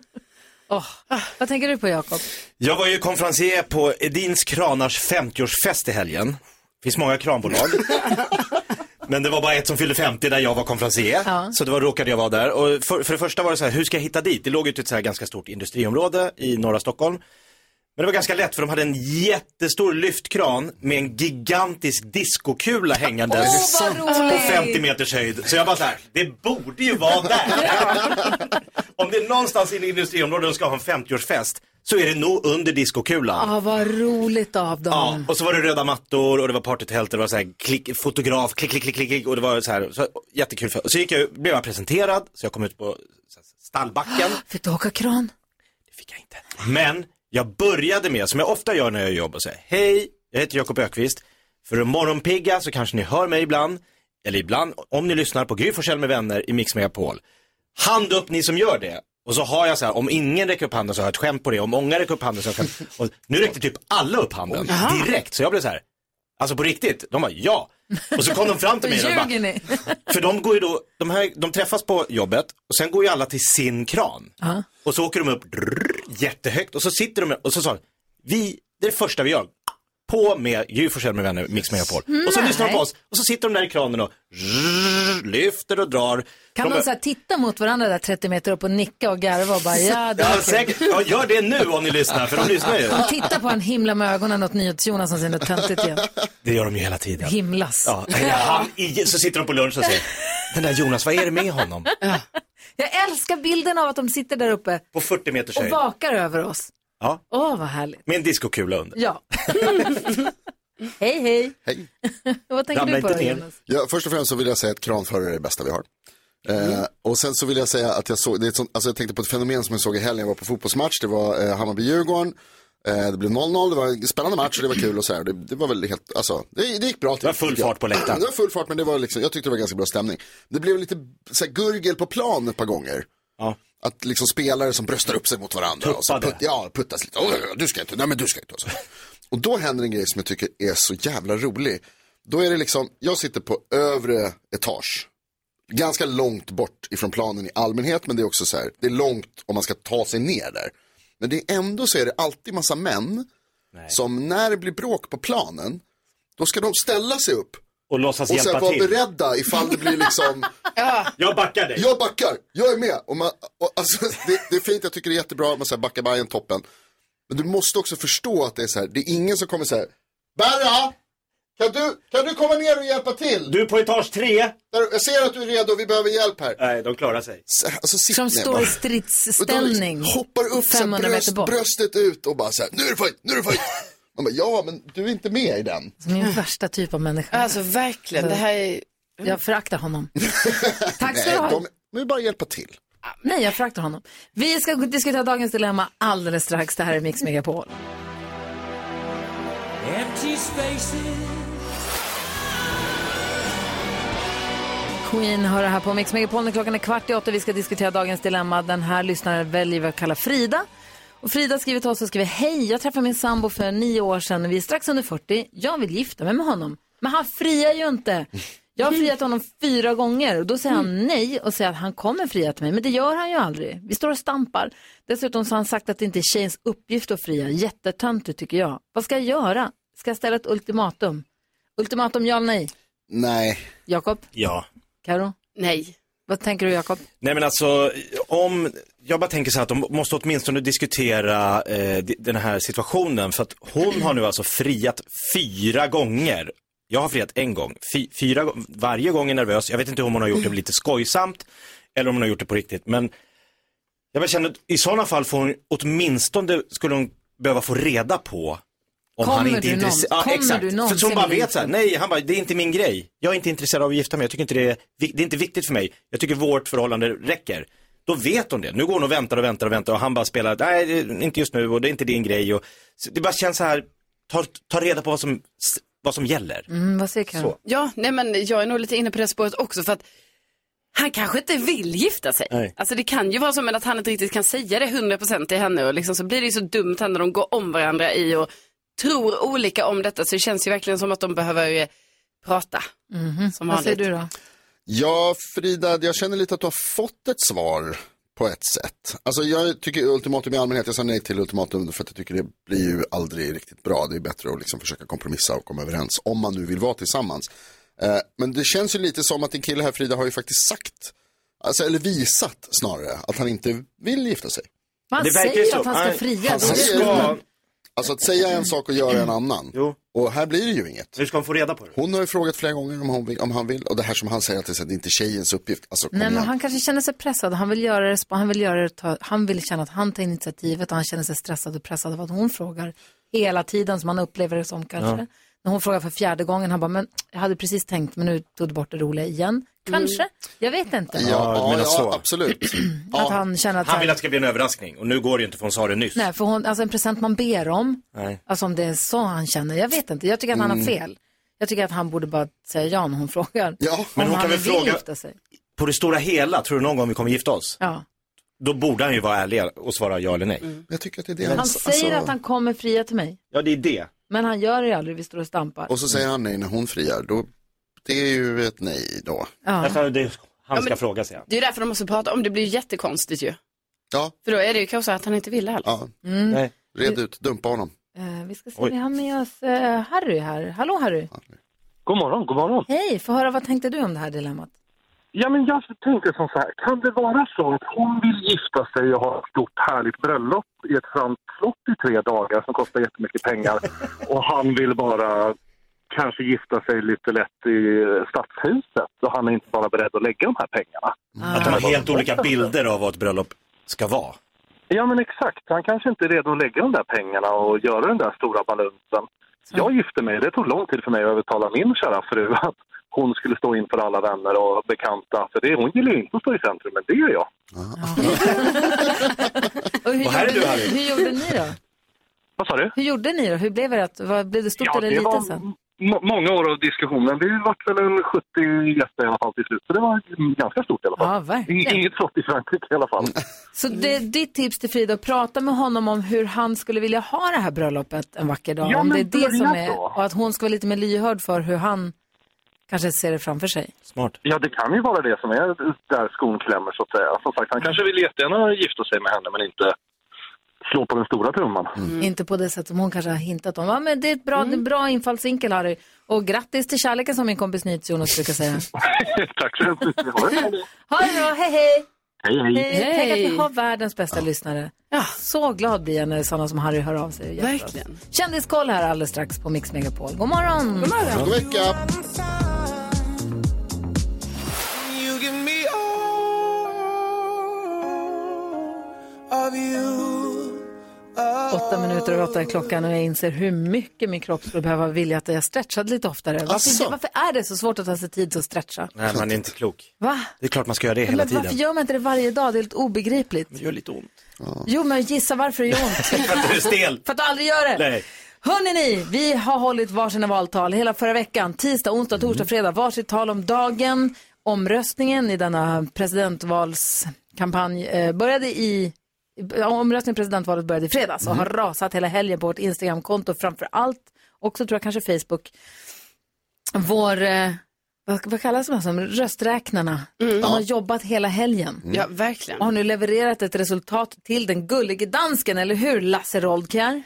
S1: Vad tänker du på Jakob?
S6: Jag var ju konferencier på Edins kranars 50-årsfest i helgen. finns många kranbolag. Men det var bara ett som fyllde 50 där jag var konferencier.
S1: Ja.
S6: Så det var, råkade jag vara där. Och för, för det första var det så här, hur ska jag hitta dit? Det låg ute i ett så här ganska stort industriområde i norra Stockholm. Men det var ganska lätt för de hade en jättestor lyftkran med en gigantisk diskokula hängande
S14: Åh, vad
S6: på
S14: roligt!
S6: 50 meters höjd. Så jag bara så här, det borde ju vara där. Om det är någonstans inne i industriområdet och ska ha en 50-årsfest så är det nog under diskokulan.
S1: Ah, vad roligt av dem.
S6: Ja, och så var det röda mattor och det var partytält och det var så här klick, fotograf, klick, klick, klick, klick, klick och det var så här, så, jättekul. För, och så gick jag, blev jag presenterad, så jag kom ut på så här, stallbacken.
S1: Fick du åka kran?
S6: Men jag började med, som jag ofta gör när jag jobbar, så här, hej, jag heter Jakob Ökvist. För att morgonpigga så kanske ni hör mig ibland, eller ibland, om ni lyssnar på Gry Forssell med vänner i Mix Megapol. Hand upp ni som gör det. Och så har jag så här, om ingen räcker upp handen så har jag ett skämt på det, om många räcker upp handen så har jag ett skämt. Och nu räckte typ alla upp handen direkt, så jag blev så här, alltså på riktigt, de bara ja. Och så kom de fram till mig och de bara,
S1: ljuger ni.
S6: för de går ju då, de, här, de träffas på jobbet och sen går ju alla till sin kran.
S1: Ja.
S6: Och så åker de upp drrrr, jättehögt och så sitter de och så sa de, vi, det är det första vi gör. På med Gry Forssell med vänner, Mix Megapol. Och så
S1: Mm. Nej.
S6: lyssnar de på oss och så sitter de där i kranen och drrrr, lyfter och drar.
S1: Kan de så här titta mot varandra där 30 meter upp och nicka och garva och bara ja, det
S6: ja,
S1: var kul.
S6: säkert, ja, gör det nu om ni lyssnar, för de lyssnar ju.
S1: De tittar på en himla med ögonen åt NyhetsJonas som säger något töntigt igen.
S6: Det gör de ju hela tiden.
S1: Himlas.
S6: Ja, eller han, i- så sitter de på lunch och säger, den där Jonas, vad är det med honom?
S1: Jag älskar bilden av att de sitter där uppe
S6: På 40 meters
S1: och
S6: höjd.
S1: vakar över oss.
S6: Ja,
S1: Åh, vad härligt.
S6: med en diskokula under.
S1: Ja. hej, hej.
S3: Hej.
S1: Vad tänker du på då, Jonas?
S3: Ja, först och främst så vill jag säga att kranförare är det bästa vi har.
S1: Mm.
S3: Eh, och sen så vill jag säga att jag såg, det är ett sånt, alltså jag tänkte på ett fenomen som jag såg i helgen, jag var på fotbollsmatch, det var eh, Hammarby-Djurgården, eh, det blev 0-0, det var en spännande match och det var kul och så här. Det, det var väl helt, alltså, det, det gick bra. Det var full fart
S6: på läktaren.
S3: Det var full fart, men det var liksom, jag tyckte det var ganska bra stämning. Det blev lite så här, gurgel på plan ett par gånger. Att liksom spelare som bröstar upp sig mot varandra. Och så put, ja, puttas lite. Åh, Du ska inte, nej men du ska inte. Och, så. och då händer en grej som jag tycker är så jävla rolig. Då är det liksom, jag sitter på övre etage. Ganska långt bort ifrån planen i allmänhet, men det är också så här, det är långt om man ska ta sig ner där. Men det är ändå så är det alltid massa män som när det blir bråk på planen, då ska de ställa sig upp
S6: och låtsas
S3: och
S6: hjälpa
S3: sen vara
S6: till.
S3: beredda ifall det blir liksom
S6: Jag backar dig.
S3: jag backar, jag är med. Och man, och alltså, det, det är fint, jag tycker det är jättebra, man säger backa Bajen, toppen. Men du måste också förstå att det är så här, det är ingen som kommer så här, Berra, kan du, kan du komma ner och hjälpa till?
S6: Du är på etage tre.
S3: Där, jag ser att du är redo, vi behöver hjälp här.
S6: Nej, de klarar sig.
S3: Alltså, sitt
S1: Som
S3: ner
S1: står
S3: bara.
S1: i stridsställning.
S3: Och de Hoppar upp så här,
S1: 500 meter
S3: bröst,
S1: bort.
S3: bröstet ut och bara så här, nu är det fight, nu är det fight. Man bara, ja, men du är inte med i den.
S1: Min värsta typ av människa.
S7: Alltså verkligen, det här är...
S1: Jag föraktar honom. Tack ska
S3: Nej,
S1: du ha.
S3: de- Nu bara hjälpa till.
S1: Nej, jag föraktar honom. Vi ska diskutera dagens dilemma alldeles strax. Det här är Mix Megapol.
S14: Empty spaces.
S1: Queen hör det här på Mix Megapol när klockan är kvart i åtta. Vi ska diskutera dagens dilemma. Den här lyssnaren väljer vi att kalla Frida. Och Frida skriver till oss och skriver Hej, jag träffade min sambo för nio år sedan. Vi är strax under 40. Jag vill gifta mig med honom. Men han friar ju inte. Jag har friat honom fyra gånger och då säger han nej och säger att han kommer fria till mig. Men det gör han ju aldrig. Vi står och stampar. Dessutom så har han sagt att det inte är tjejens uppgift att fria. Jättetöntigt tycker jag. Vad ska jag göra? Ska jag ställa ett ultimatum? Ultimatum ja eller nej?
S3: Nej.
S1: Jakob?
S6: Ja.
S1: Karo?
S7: Nej.
S1: Vad tänker du Jakob?
S6: Nej men alltså, om, jag bara tänker så här att de måste åtminstone diskutera eh, di- den här situationen för att hon har nu alltså friat fyra gånger. Jag har friat en gång, Fy, fyra, gång- varje gång är nervös, jag vet inte hur hon har gjort det, det blir lite skojsamt. Eller om hon har gjort det på riktigt. Men jag bara känner att i sådana fall får hon åtminstone skulle hon behöva få reda på om
S1: Kommer
S6: han inte
S1: du
S6: är
S1: någons-
S6: intresserad.
S1: kommer
S6: exakt.
S1: du
S6: Så,
S1: någonsin
S6: så hon bara
S1: bli
S6: vet så här, nej, han bara, det är inte min grej. Jag är inte intresserad av att gifta mig, jag tycker inte det är, vi- det är inte viktigt för mig. Jag tycker vårt förhållande räcker. Då vet hon det. Nu går hon och väntar och väntar och väntar och han bara spelar, nej, det är inte just nu och det är inte din grej. Och, så det bara känns så här, ta, ta reda på vad som, vad som gäller.
S1: Mm, vad säger Karin?
S6: Så.
S7: Ja, nej men jag är nog lite inne på det spåret också för att han kanske inte vill gifta sig.
S6: Nej.
S7: Alltså det kan ju vara så men att han inte riktigt kan säga det 100% till henne och liksom så blir det ju så dumt här när de går om varandra i och tror olika om detta så det känns ju verkligen som att de behöver eh, prata. Som
S1: Mm. Vad
S7: vanligt.
S1: säger du då?
S3: Ja, Frida, jag känner lite att du har fått ett svar på ett sätt. Alltså jag tycker ultimatum i allmänhet, jag sa nej till ultimatum för att jag tycker det blir ju aldrig riktigt bra. Det är bättre att liksom försöka kompromissa och komma överens om man nu vill vara tillsammans. Eh, men det känns ju lite som att din kille här, Frida, har ju faktiskt sagt, alltså, eller visat snarare, att han inte vill gifta sig.
S1: Man Det verkar säger ju så. att han ska Nej, fria,
S3: Han
S1: det är det
S3: säger-
S1: som är-
S3: Alltså att säga en sak och göra en annan. Och här blir det ju inget.
S6: Hur ska hon få reda på det?
S3: Hon har ju frågat flera gånger om, hon vill, om han vill. Och det här som han säger att det är så här, det är inte tjejens uppgift. Alltså, kom
S1: Nej, men
S3: igen.
S1: han kanske känner sig pressad. Han vill göra det, han vill göra det, ta, han vill känna att han tar initiativet och han känner sig stressad och pressad av att hon frågar hela tiden som han upplever det som kanske.
S15: Ja.
S1: När hon frågar för fjärde gången, han bara, men jag hade precis tänkt, men nu tog du bort det roliga igen. Kanske, jag vet inte.
S3: absolut.
S1: Att han känner att
S6: han
S1: han-
S6: vill att det ska bli en överraskning och nu går det ju inte för hon sa det nyss.
S1: Nej, för hon, alltså en present man ber om,
S6: Nej.
S1: alltså om det är så han känner, jag vet inte. Jag tycker att han har
S6: Mm.
S1: fel. Jag tycker att han borde bara säga ja när hon frågar.
S6: Men
S3: Ja,
S1: om
S6: hon
S1: han
S6: kan väl
S1: vill
S6: fråga-
S1: gifta sig.
S6: På det stora hela, tror du någon gång vi kommer gifta oss?
S1: Ja. Mm.
S6: Då borde han ju vara ärlig och svara ja eller nej.
S3: Jag tycker att det är alltså-
S1: Han säger att han kommer fria till mig,
S6: Ja, det är det.
S1: men han gör det aldrig, vi står och stampar.
S3: Och så säger han nej när hon friar. Då, det är ju ett nej då.
S1: Ja.
S6: Alltså, det, han
S7: Ja,
S6: ska
S7: men-
S6: fråga sig.
S7: Det är ju därför de måste prata om det, det blir ju jättekonstigt ju.
S3: Ja.
S7: För då är det ju kanske så att han inte vill alls.
S3: Ja.
S1: Mm.
S6: Nej.
S3: Red ut, dumpa honom.
S1: Eh, vi ska se,
S3: Oj.
S1: vi har med oss eh, Harry här. Hallå Harry!
S16: God morgon, god morgon.
S1: Hej, få höra vad tänkte du om det här dilemmat?
S16: Ja, men jag tänkte som så här, kan det vara så att hon vill gifta sig och ha ett stort härligt bröllop i ett franskt slott i tre dagar som kostar jättemycket pengar och han vill bara kanske gifta sig lite lätt i stadshuset och han är inte bara beredd att lägga de här pengarna.
S6: Att de har helt olika bilder av vad ett bröllop ska vara.
S16: Ja, men exakt. Han kanske inte är redo att lägga de där pengarna och göra den där stora balansen. Jag gifte mig. Det tog lång tid för mig att övertala min kära fru att hon skulle stå inför alla vänner och bekanta. För det, hon gillar ju inte att stå i centrum, men det gör jag.
S1: Och hur,
S16: Och här är
S1: gjorde,
S16: du,
S1: ni,
S16: Harry.
S1: hur gjorde ni då?
S16: Vad sa du?
S1: Hur gjorde ni då? Hur blev det? Att- Vad, blev det stort
S16: Ja,
S1: eller
S16: det
S1: litet
S16: var-
S1: sen?
S16: Må- många år av diskussionen. Vi vart väl en 70 gäster i alla fall till slut. Så det var ganska stort i alla fall.
S1: Ja, verkligen.
S16: In- Inget flott i Frankrike i alla fall.
S1: Så det, ditt tips till Frida, prata med honom om hur han skulle vilja ha det här bröllopet en vacker dag.
S16: Ja,
S1: om det är
S16: men börja
S1: det som är,
S16: då.
S1: och att hon ska vara lite mer lyhörd för hur han kanske ser det framför sig.
S16: Ja, det kan ju vara det som är där skon klämmer så att säga. Som sagt, han kanske vill jättegärna gifta sig med henne men inte slå på den stora trumman.
S1: Inte på det sätt som hon kanske har hintat om. Ja, men det är ett bra, det är bra infallsvinkel Harry. Och grattis till kärleken som min kompis NyhetsJonas brukar säga.
S16: Tack så mycket.
S1: Ha det bra, hej hej!
S16: Hej, hej.
S1: Tänk att vi har världens bästa lyssnare. Så glad blir jag när sådana som Harry hör av sig. och hjälper oss.
S7: Verkligen.
S1: Kändiskoll här alldeles strax på Mix Megapol. God morgon!
S7: God morgon. God
S3: vecka!
S14: You give me all of you.
S1: Åtta minuter över åtta är klockan och jag inser hur mycket min kropp skulle behöva vilja att jag stretchade lite oftare. Varför,
S6: Asså?
S1: varför är det så svårt att ta sig tid till att stretcha?
S6: Nej, man är inte klok.
S1: Va?
S6: Det är klart man ska göra det hela
S1: Men varför
S6: tiden.
S1: gör man inte det varje dag? Det är helt obegripligt.
S6: Det gör lite ont.
S1: Jo, men gissa varför det gör ont.
S6: För att du är stel.
S1: För att du aldrig gör det.
S6: Nej.
S1: Hörrni ni, vi har hållit varsina valtal hela förra veckan. Tisdag, onsdag, torsdag,
S7: Mm.
S1: fredag. Varsitt tal om dagen. Omröstningen i denna presidentvalskampanj eh, började i eh, Omröstningen i presidentvalet började i fredags och
S15: Mm.
S1: har rasat hela helgen på vårt Instagramkonto framför allt. Också tror jag kanske Facebook. Vår, eh, vad, vad kallas de här som, rösträknarna. De har jobbat hela helgen.
S7: Mm. Ja, verkligen.
S1: Och har nu levererat ett resultat till den gullige dansken, eller hur Lasse Roldkjær?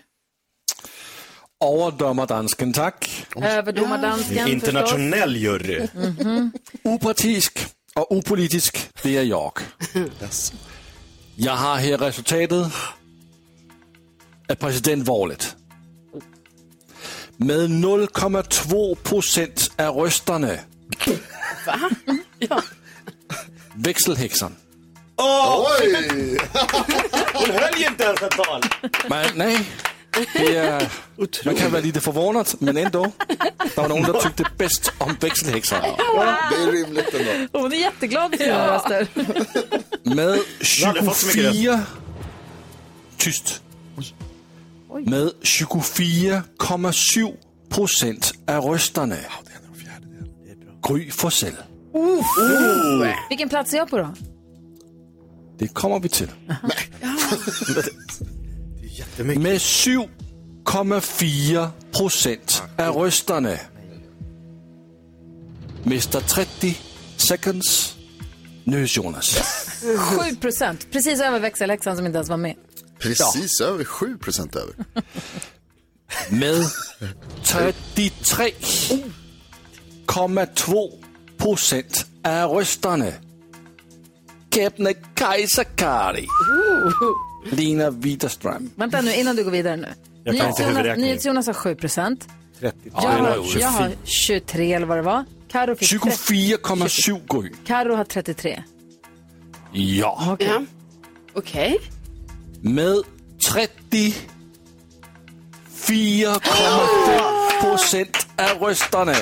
S10: Overdömer dansken, tack.
S1: Överdomardansken
S6: Internationell jury.
S1: Mhm.
S10: Opartisk och opolitisk, det är jag. Jag har här resultatet av presidentvalet. Med 0,2 procent av rösterna Växelhäxan.
S6: Oj! Hon höll ju inte ens ett tal.
S10: Men, nej, det är, man kan vara lite förvånad, men ändå. Det var någon som tyckte bäst om växelhäxan.
S3: Det är rimligt ändå.
S1: Hon är jätteglad för sina röster.
S10: Med
S1: har aldrig fått så mycket röst.
S10: 24... Tyst. Med 24,7 procent av rösterna. Gry Forssell.
S1: Uff.
S10: Oh.
S1: Vilken plats är jag på då?
S10: Det kommer vi till. Med 7,4 procent av rösterna. Mr 30 seconds. Nu Jonas.
S1: 7 procent. Precis över växelhäxan som inte ens var med.
S3: Precis över 7 procent över.
S10: Med 33,2 procent av rösterna. Kebnekaise Kari. Lina Widerström.
S1: Vänta nu, innan du går vidare nu.
S10: Jag kan inte
S1: NyhetsJonas
S10: huvudräkning.
S1: NyhetsJonas har 7 procent.
S10: 30.
S1: Jag, har- jag har 23 eller vad det var. Karo fick
S10: 24,7 Gry.
S1: Karo har 33.
S10: Ja.
S7: Ja. Okej.
S10: Med 34,5 procent av rösterna.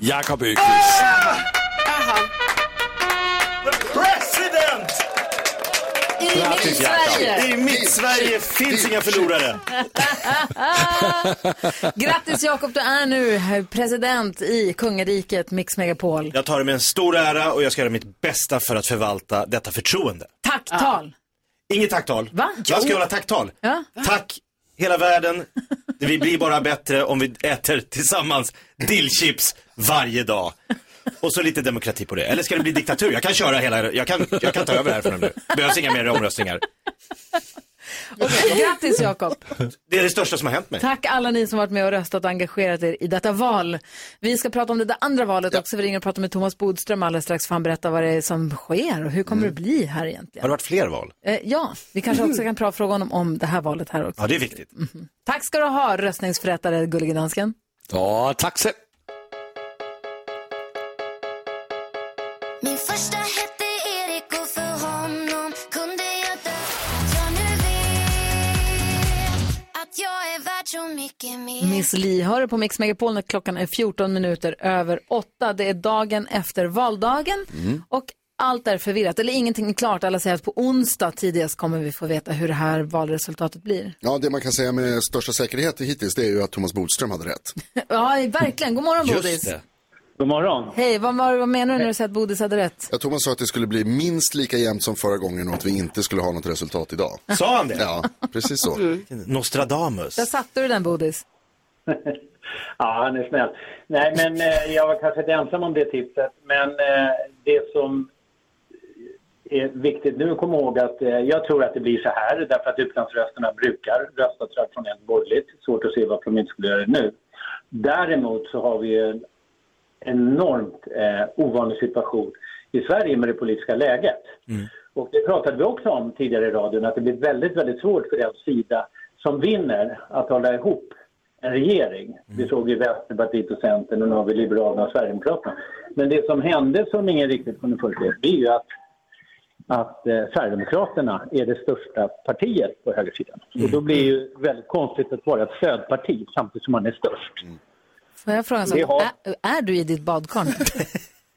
S10: Jakob Öqvist.
S6: President!
S1: I
S6: Bra,
S1: mitt
S6: tycker jag.
S1: Sverige!
S6: I mitt Sverige finns inga förlorare.
S1: Grattis Jakob, du är nu president i kungariket Mix Megapol.
S6: Jag tar det med en stor ära och jag ska göra mitt bästa för att förvalta detta förtroende.
S1: Tacktal!
S6: Inget tacktal. Va? Jag ska
S1: Jo.
S6: hålla tacktal.
S1: Ja.
S6: Tack hela världen. Vi blir bara bättre om vi äter tillsammans dillchips varje dag. Och så lite demokrati på det. Eller ska det bli diktatur? Jag kan köra hela, jag kan, jag kan ta över här från nu. Behövs inga mer omröstningar.
S1: Grattis Jakob!
S6: Det är det största som har hänt mig.
S1: Tack alla ni som varit med och röstat och engagerat er i detta val. Vi ska prata om det där andra valet också. Vi ringer och pratar med Thomas Bodström alldeles strax för han berättar vad det är som sker och hur kommer det bli här egentligen.
S6: Mm. Har det varit fler val?
S1: Eh, ja, vi kanske också kan pra- fråga honom om det här valet här också.
S6: Ja, det är viktigt.
S1: Tack ska du ha röstningsförrättare Gullige Dansken.
S10: Ja, tack så
S5: Min första hette Erik och för honom kunde jag dö Att jag nu vet att jag är värd så mycket mer
S1: Miss Li hör du på Mix Megapol när klockan är 14 minuter över 8. Det är dagen efter valdagen
S6: Mm.
S1: och allt är förvirrat, eller ingenting är klart. Alla säger att på onsdag tidigast kommer vi få veta hur det här valresultatet blir.
S3: Ja, det man kan säga med största säkerhet hittills det är ju att Thomas Bodström hade rätt.
S1: Ja, verkligen. God morgon, Bodis.
S3: God morgon.
S1: Hej, vad, var- vad menar du när du säger att Bodis hade rätt?
S3: Ja, Thomas sa att det skulle bli minst lika jämnt som förra gången och att vi inte skulle ha något resultat idag.
S6: Sa han det?
S3: Ja, precis så.
S6: Nostradamus.
S1: Där satte du den, Bodis.
S15: Ja, han är snäll. Nej, men eh, jag var kanske inte ensam om det tipset. Men eh, det som är viktigt nu att komma ihåg att eh, jag tror att det blir så här därför att utlandsrösterna brukar rösta traditionellt borgerligt. Svårt att se varför de inte skulle göra det nu. Däremot så har vi ju en enormt eh, ovanlig situation i Sverige med det politiska läget. Och det pratade vi också om tidigare i radion att det blir väldigt, väldigt svårt för den sida som vinner att hålla ihop en regering. Vi såg ju Vänsterpartiet och Centern och nu har vi Liberalerna och Sverigedemokraterna. Men det som hände som ingen riktigt kunde förutse det är ju att, att eh, Sverigedemokraterna är det största partiet på högersidan. Och då blir det ju väldigt konstigt att vara ett stödparti samtidigt som man är störst.
S1: Får jag fråga en sak?
S15: Vi har-
S1: Är, är du i ditt badkar nu?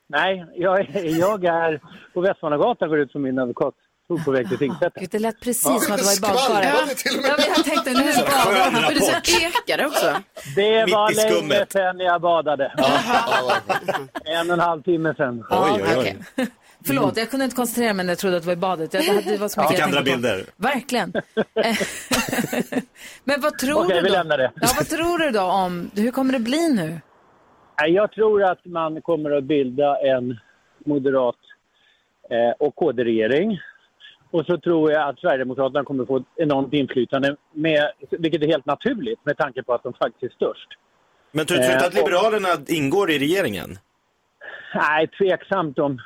S15: Nej, jag, jag är på Västmanagatan går ut som min advokat tog på väg till tingsrätten.
S1: Det lät precis
S15: Ja.
S1: som att det var i badkaret.
S15: Skvallrade till och med.
S1: Ja, men jag tänkte, nu är det
S15: Så skön
S1: badkar.
S15: rapport.
S1: Men du sa-
S7: Ekade också.
S15: Det
S1: Mitt i
S15: var länge
S1: skummet.
S15: sedan jag badade. en och en halv timme sedan.
S1: Oj, oj, oj. Förlåt, jag kunde inte koncentrera mig när jag trodde att det var i badet. Jag, det hade- det var så mycket
S6: Fick
S1: jag
S6: andra
S1: tänkte på.
S6: bilder.
S1: Verkligen. Eh, Men vad tror
S15: Okej,
S1: du
S15: vi
S1: då?
S15: lämnar det.
S1: Ja, vad tror du då om, hur kommer det bli nu?
S15: Nej, Jag tror att man kommer att bilda en moderat eh, och KD-regering. Och så tror jag att Sverigedemokraterna kommer få ett enormt inflytande, med, vilket är helt naturligt med tanke på att de faktiskt är störst.
S6: Men tror tror du inte att
S15: Eh, och-
S6: Liberalerna ingår i regeringen?
S15: Nej, tveksamt om,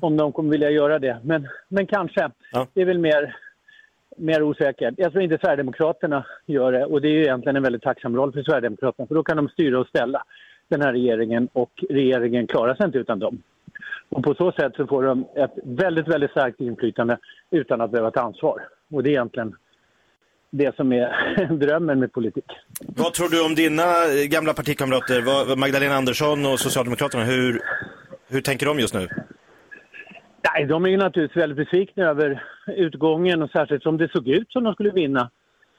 S15: om de kommer vilja göra det. Men, men kanske. Det är väl mer, mer osäkert. Jag tror inte Sverigedemokraterna gör det. Och det är ju egentligen en väldigt tacksam roll för Sverigedemokraterna. För då kan de styra och ställa den här regeringen och regeringen klarar sig inte utan dem. Och på så sätt så får de ett väldigt, väldigt starkt inflytande utan att behöva ta ansvar. Och det är egentligen det som är drömmen med politik.
S6: Vad tror du om dina eh, gamla partikamrater, vad, Magdalena Andersson och Socialdemokraterna, hur, hur tänker de just nu?
S15: Nej, de är ju naturligtvis väldigt besvikna över utgången och särskilt som det såg ut som de skulle vinna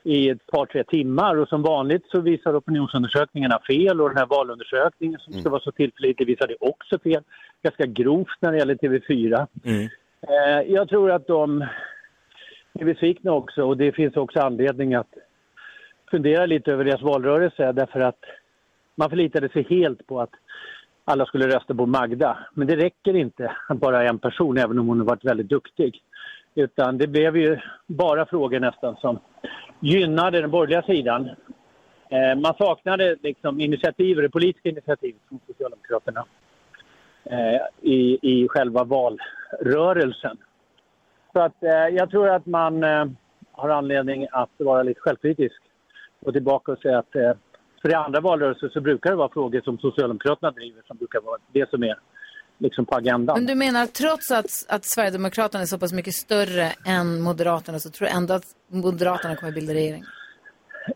S15: i ett par, tre timmar och som vanligt så visar opinionsundersökningarna fel och den här valundersökningen som ska vara så tillförlitlig visade också fel. Ganska grovt när det gäller TV4.
S14: Mm.
S15: Eh, jag tror att de är besvikna också och det finns också anledning att fundera lite över deras valrörelse därför att man förlitade sig helt på att alla skulle rösta på Magda. Men det räcker inte att bara en person, även om hon har varit väldigt duktig. Utan det blev ju bara frågor nästan som gynnade den borgerliga sidan. Eh, man saknade liksom initiativ, det politiska initiativet från Socialdemokraterna eh, i, i själva valrörelsen. Så att eh, jag tror att man eh, har anledning att vara lite självkritisk och tillbaka och säga att eh, för i andra valrörelser så brukar det vara frågor som Socialdemokraterna driver som brukar vara det som är liksom på agendan.
S1: Men du menar att trots att, att Sverigedemokraterna är så pass mycket större än Moderaterna så tror du ändå att Moderaterna kommer bilda regering?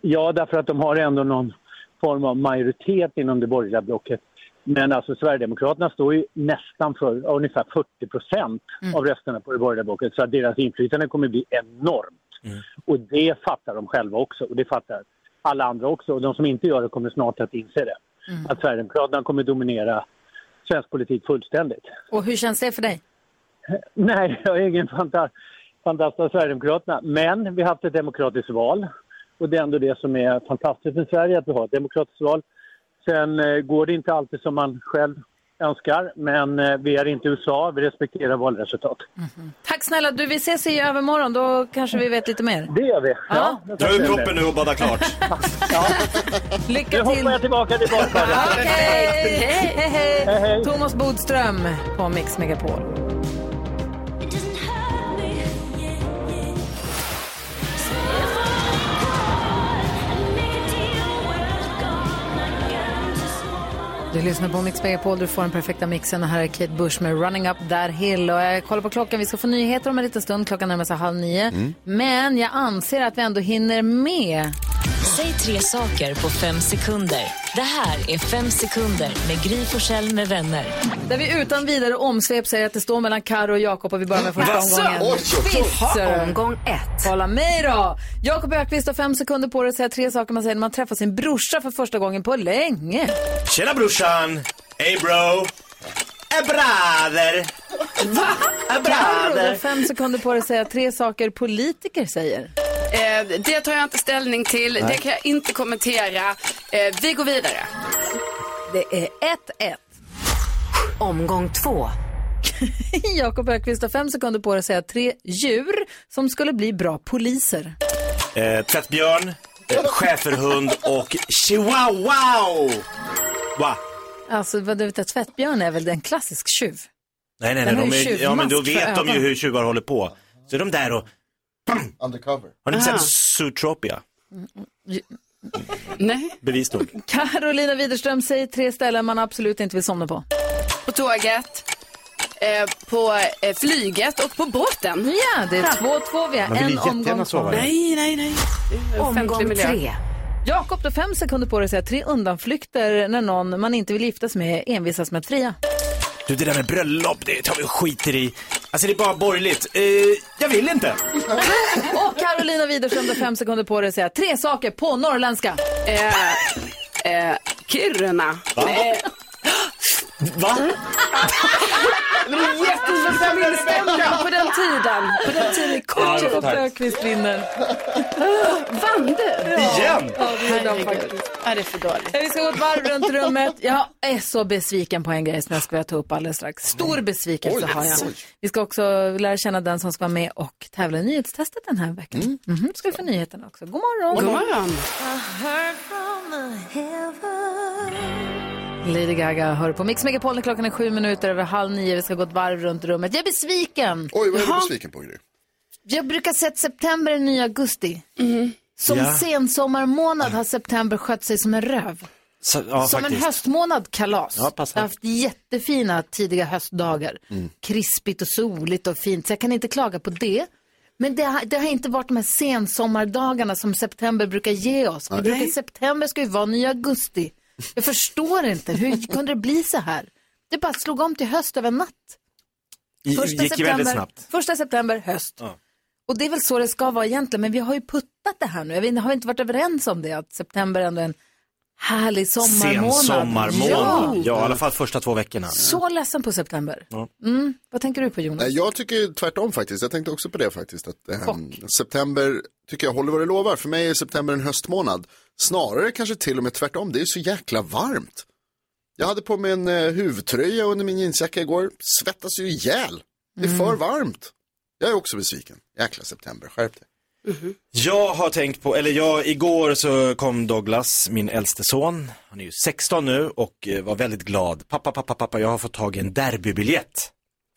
S15: Ja, därför att de har ändå någon form av majoritet inom det borgerliga blocket. Men alltså Sverigedemokraterna står ju nästan för ja, ungefär 40 procent av rösterna på det borgerliga blocket. Så att deras inflytande kommer bli enormt. Och det fattar de själva också. Och det fattar alla andra också. Och de som inte gör det kommer snart att inse det. Att Sverigedemokraterna kommer dominera svensk politik fullständigt.
S1: Och hur känns det för dig?
S15: Nej, jag är ingen fanta- fantast av Sverigedemokraterna. Men vi har haft ett demokratiskt val. Och det är ändå det som är fantastiskt med Sverige, att vi har ett demokratiskt val. Sen eh, går det inte alltid som man själv önskar, men eh, vi är inte USA, vi respekterar valresultat.
S1: Mhm. Tack snälla du, vi ses i övermorgon, då kanske vi vet lite mer.
S15: Det gör vi.
S1: Ja.
S6: Dra ur proppen nu och bada klart.
S1: Lycka till! Nu hoppar
S15: jag tillbaka till badkaret.
S1: Okej!
S5: Hej.
S1: Hej, hej! Thomas Bodström på Mix Megapol. Du lyssnar på Mix Megapol, du får den perfekta mixen. Och här är Kate Bush med Running Up That Hill. Och jag kollar på klockan, vi ska få nyheter om en liten stund. Klockan närmar sig halv nio.
S2: Mm.
S1: Men jag anser att vi ändå hinner med.
S2: Säg tre saker på fem sekunder. Det här är Fem sekunder med Gry Forssell med vänner.
S1: Där vi utan vidare omsvep säger att det står mellan Karo och Jakob och vi börjar med första
S2: Jaså?
S1: omgången.
S2: Oj, oj, oj.
S1: Visst,
S2: Ha,
S1: sir.
S2: omgång ett.
S1: Kolla mig då! Jakob Ökvist har fem sekunder på dig att säga tre saker man säger när man träffar sin brorsa för första gången på länge.
S6: Tjena brorsan! Hey bro! A brother!
S1: Va? Karo, du har
S6: brother.
S1: fem sekunder på dig att säga tre saker politiker säger.
S7: Eh, det tar jag inte ställning till.
S1: Nej.
S7: Det kan jag inte kommentera. Eh, vi går vidare.
S1: Det är 1-1.
S2: Omgång två.
S1: Jakob Ökvist har fem sekunder på dig att säga tre djur som skulle bli bra poliser.
S6: Eh, tvättbjörn, eh, schäferhund och chihuahua! Va?
S1: Alltså, vad du vet att tvättbjörn är väl en klassisk tjuv?
S6: Nej, nej,
S1: Den
S6: nej.
S1: har
S6: De
S1: ju
S6: är, ja, men då
S1: tjuvmask
S6: vet
S1: för
S6: de ju
S1: ögon.
S6: hur tjuvar håller på. Så är de där och...
S3: Undercover.
S6: Har ni sett
S1: Ah.
S6: Zootropia?
S7: Nej.
S6: Bevis nog.
S1: Carolina Widerström säger tre ställen man absolut inte vill somna på.
S7: På tåget, eh, på eh, flyget och på båten.
S1: Ja, det är 2-2 vi har.
S7: Man vill ju
S1: En
S7: jättegärna
S1: omgång
S7: sova
S1: kvar.
S7: här. Nej, nej, nej. Det är offentlig
S1: Omgång
S7: miljö.
S1: tre. Jakob, du har fem sekunder på dig att säga tre undanflykter när någon man inte vill giftas med envisas med att fria.
S6: Du, det där med bröllop, det tar vi och skiter i. Alltså, det är bara borgerligt. Eh, jag vill inte.
S1: Och Carolina Widerström, du har fem sekunder på dig att säga tre saker på norrländska.
S7: Eh, eh, Kiruna.
S6: Va?
S7: Nej.
S6: Va?
S7: Mm. Det är jättesvårt att minnas på den tiden. På den tiden.
S1: Kort
S7: Ja,
S1: Jakob
S7: tack.
S1: Öqvist vinner.
S7: Vann du?
S1: Igen?
S7: Ja, det gjorde han faktiskt. Ja, det är för dåligt.
S1: Vi ska gå ett varv runt rummet. Jag är så besviken på en grej som jag ska börja ta upp alldeles strax. Stor besvikelse
S7: Oj,
S1: har jag.
S7: oj.
S1: Vi ska också lära känna den som ska vara med och tävla i nyhetstestet den här veckan. Mm. ska vi få nyheterna också. God morgon.
S7: God morgon.
S1: Lady Gaga hör på Mix Megapol när klockan är sju minuter över halv nio. Vi ska gå ett varv runt rummet. Jag är besviken.
S3: Oj, vad är du
S1: Jaha.
S3: besviken på Gry?
S1: Jag brukar säga att september är en ny augusti. Som
S3: Ja.
S1: sensommarmånad har september skött sig som en röv.
S6: Så, ja,
S1: Som en
S6: faktiskt.
S1: höstmånad kalas.
S6: Ja, passar.
S1: Jag har haft jättefina tidiga höstdagar.
S6: Mm.
S1: Krispigt och soligt och fint, så jag kan inte klaga på det. Men det har, det har inte varit de här sensommardagarna som september brukar ge oss. Vi
S6: Nej.
S1: brukar, september ska ju vara ny augusti. Jag förstår inte, hur kunde det bli så här? Det bara slog om till höst över en natt.
S6: I- gick ju väldigt snabbt.
S1: första september, höst.
S6: Ja.
S1: Och det är väl så det ska vara egentligen, men vi har ju puttat det här nu. Jag vet inte, har vi inte varit överens om det, att september ändå är en härlig sommarmånad?
S6: Sensommarmånad. Ja.
S1: Ja.
S6: ja, i alla fall första två veckorna.
S1: Så ledsen på september.
S6: Ja.
S1: Mm. Vad tänker du på Jonas?
S3: Nej, jag tycker tvärtom faktiskt. Jag tänkte också på det faktiskt. Att, ehm, september tycker jag håller vad det lovar. För mig är september en höstmånad. Snarare kanske till och med tvärtom. Det är så jäkla varmt. Jag hade på mig en eh, huvudtröja under min jeansjacka igår. Svettas ju ihjäl. Det är
S1: Mm.
S3: för varmt. Jag är också besviken. Jäkla september, skärp dig.
S14: Mm-hmm.
S6: Jag har tänkt på, eller jag, igår så kom Douglas, min äldste son, han är ju 16 nu och eh, var väldigt glad. Pappa, pappa, pappa, jag har fått tag i en derbybiljett.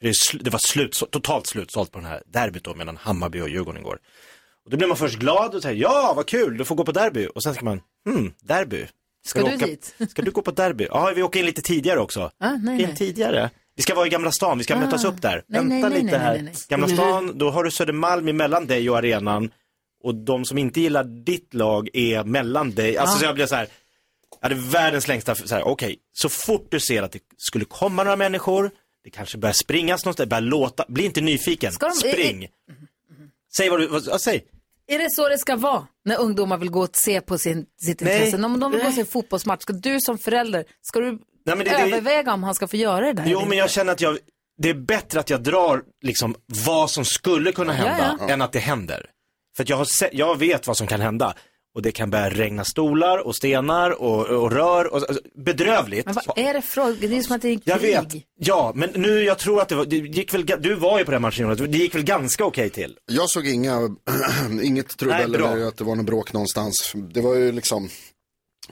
S6: Det, är sl- det var slut, totalt slutsålt på den här derbyt då mellan Hammarby och Djurgården igår. Och då blir man först glad och säger ja, vad kul, du får gå på derby. Och sen ska man, hmm, derby.
S1: Ska
S6: vi
S1: du
S6: åka,
S1: dit?
S6: Ska du gå på derby? Ja, vi åker in lite tidigare också.
S1: Ah, nej,
S6: in
S1: nej.
S6: tidigare. Vi ska vara i Gamla stan, vi ska
S1: Ah.
S6: mötas upp där.
S1: Nej, nej,
S6: Vänta
S1: nej,
S6: lite
S1: nej,
S6: här.
S1: nej, nej.
S6: Gamla
S1: Nej.
S6: stan, då har du Södermalm emellan dig och arenan. Och de som inte gillar ditt lag är mellan dig. Alltså
S1: Ah.
S6: så jag blev så här, jag hade världens längsta, så här, okej, så fort du ser att det skulle komma några människor, det kanske börjar springas någonstans, börjar låta, bli inte nyfiken,
S1: Ska de- Mm-hmm.
S6: spring. Säg vad du, vad, ja, säg.
S1: Är det så det ska vara när ungdomar vill gå och se på sin, sitt
S6: Nej.
S1: intresse? Om de vill gå och se
S6: Nej.
S1: en fotbollsmatch, ska du som förälder, ska du
S6: Nej, men det- det-
S1: överväga om han ska få göra det där?
S6: Jo, men jag känner att jag, det är bättre att jag drar liksom vad som skulle kunna
S1: Ja,
S6: hända
S1: ja.
S6: än att det händer. För att jag, har se, jag vet vad som kan hända. Och det kan börja regna stolar och stenar och, och rör och alltså, bedrövligt.
S1: Men vad är det frågan? Det är ju som att det är krig.
S6: Jag vet, ja, men nu, jag tror att det, var, det gick väl, ga- du var ju på den matchen Jonas, det gick väl ganska okej till.
S3: Jag såg inga, Ehm, inget trubbel
S6: Nej, bra.
S3: eller att det var något bråk någonstans. Det var ju liksom,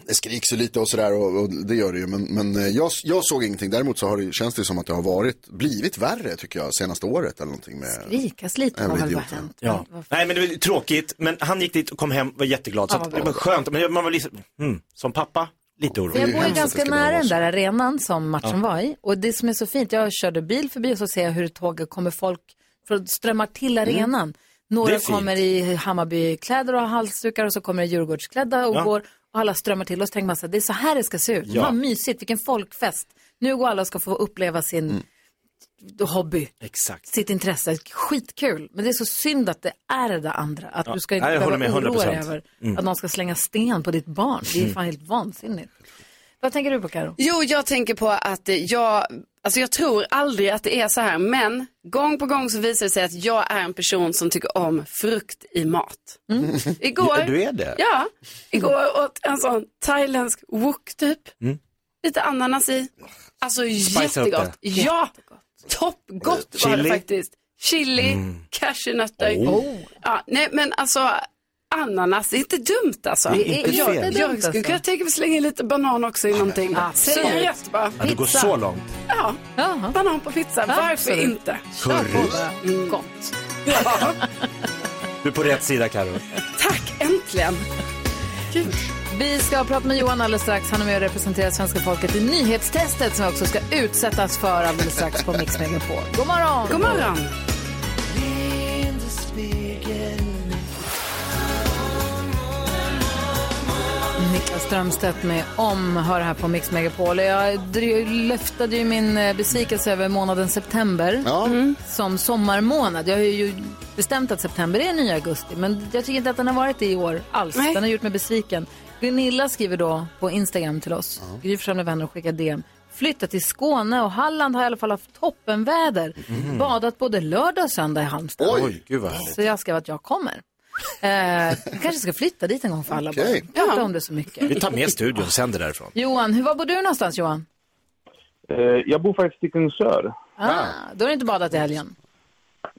S3: det skriks ju lite och sådär och, och det gör det ju. Men, men eh, jag, jag såg ingenting. Däremot så har det, ju- känns det ju som att det har varit, blivit värre tycker jag senaste året eller någonting med.
S1: Skrikas lite
S3: Jävla
S1: har väl bara
S3: idioter.
S1: hänt.
S6: Ja. Nej men det var tråkigt, men han gick dit och kom hem, var jätteglad. Så
S1: Ja,
S6: att,
S1: vad
S6: det var skönt, men man var liksom, mm, som pappa, lite
S1: För
S6: orolig.
S1: jag bor ju ganska nära den där arenan som matchen
S6: Ja.
S1: var i. Och det som är så fint, jag körde bil förbi och så ser jag hur tåget kommer folk från, strömmar till
S6: Mm.
S1: arenan.
S17: Det
S1: Några
S17: är fint.
S1: kommer i Hammarbykläder och har halsdukar och så kommer det Djurgårdsklädda och
S17: Ja.
S1: går. Och alla strömmar till och så tänker man så här, det är så här det ska se ut.
S17: Ja.
S1: Vad mysigt, vilken folkfest. Nu går alla och ska få uppleva sin hobby.
S6: Mm. Exakt.
S1: Sitt intresse, skitkul. Men det är så synd att det är det där andra. Att
S6: Ja.
S1: du ska inte
S6: Nej, jag håller
S1: behöva
S6: med
S1: oroa dig
S6: 100%.
S1: över
S6: Mm.
S1: att någon ska slänga sten på ditt barn. Det är ju fan helt vansinnigt. Vad tänker du på Karo?
S7: Jo, jag tänker på att eh, jag, alltså jag tror aldrig att det är så här, men gång på gång så visar det sig att jag är en person som tycker om frukt i mat.
S1: Mm.
S7: Igår,
S6: Ja, du är det?
S7: Ja, igår åt en sån thailändsk wok typ,
S6: Mm.
S7: lite ananas i. Alltså
S6: Spicea upp
S7: jättegott.
S6: det.
S7: Ja, toppgott var det
S6: Chili?
S7: faktiskt. Chili, cashewnötter.
S6: Oh.
S7: Ja, nej men alltså, ananas är inte dumt alltså.
S6: Det är inte
S7: jag,
S6: fel.
S7: jag skulle kunna tänka mig att slänga in lite banan också i någonting. Säg
S6: Absolut.
S7: rätt bara.
S6: Ja, det går så långt.
S7: Ja, banan på pizza. Varför
S6: Absolut.
S7: inte?
S6: Curry.
S7: Mm. Gott.
S6: Du är på rätt sida Karo.
S7: Äntligen.
S1: Vi ska prata med Johan alldeles strax. Han är med och representerar svenska folket i nyhetstestet som vi också ska utsättas för alldeles strax på Mix Megapol. God morgon!
S7: God morgon.
S1: Niklas Strömstedt med Om hör här på Mix Megapol. Jag dry- lyftade ju min eh, besvikelse över månaden september Mm. som sommarmånad. Jag har ju bestämt att september är ny augusti, men jag tycker inte att den har varit det i år alls. Den har gjort mig besviken. Gunilla skriver då på Instagram till oss, Gry Forssell med vänner och skickar DM. Flyttat till Skåne och Halland har i alla fall haft toppenväder.
S6: Mhm.
S1: Badat både lördag och söndag i Halmstad.
S6: Oj, gud vad härligt.
S1: Så jag skrev att jag kommer. Eh, jag kanske ska flytta dit en gång för alla
S6: Okej.
S1: bara. Prata om det så mycket.
S6: Vi tar med studion och sänder därifrån.
S1: Johan, hur var bor du någonstans Johan?
S18: Eh, jag bor faktiskt i Kungsör.
S1: Ah, Då har du inte badat i helgen.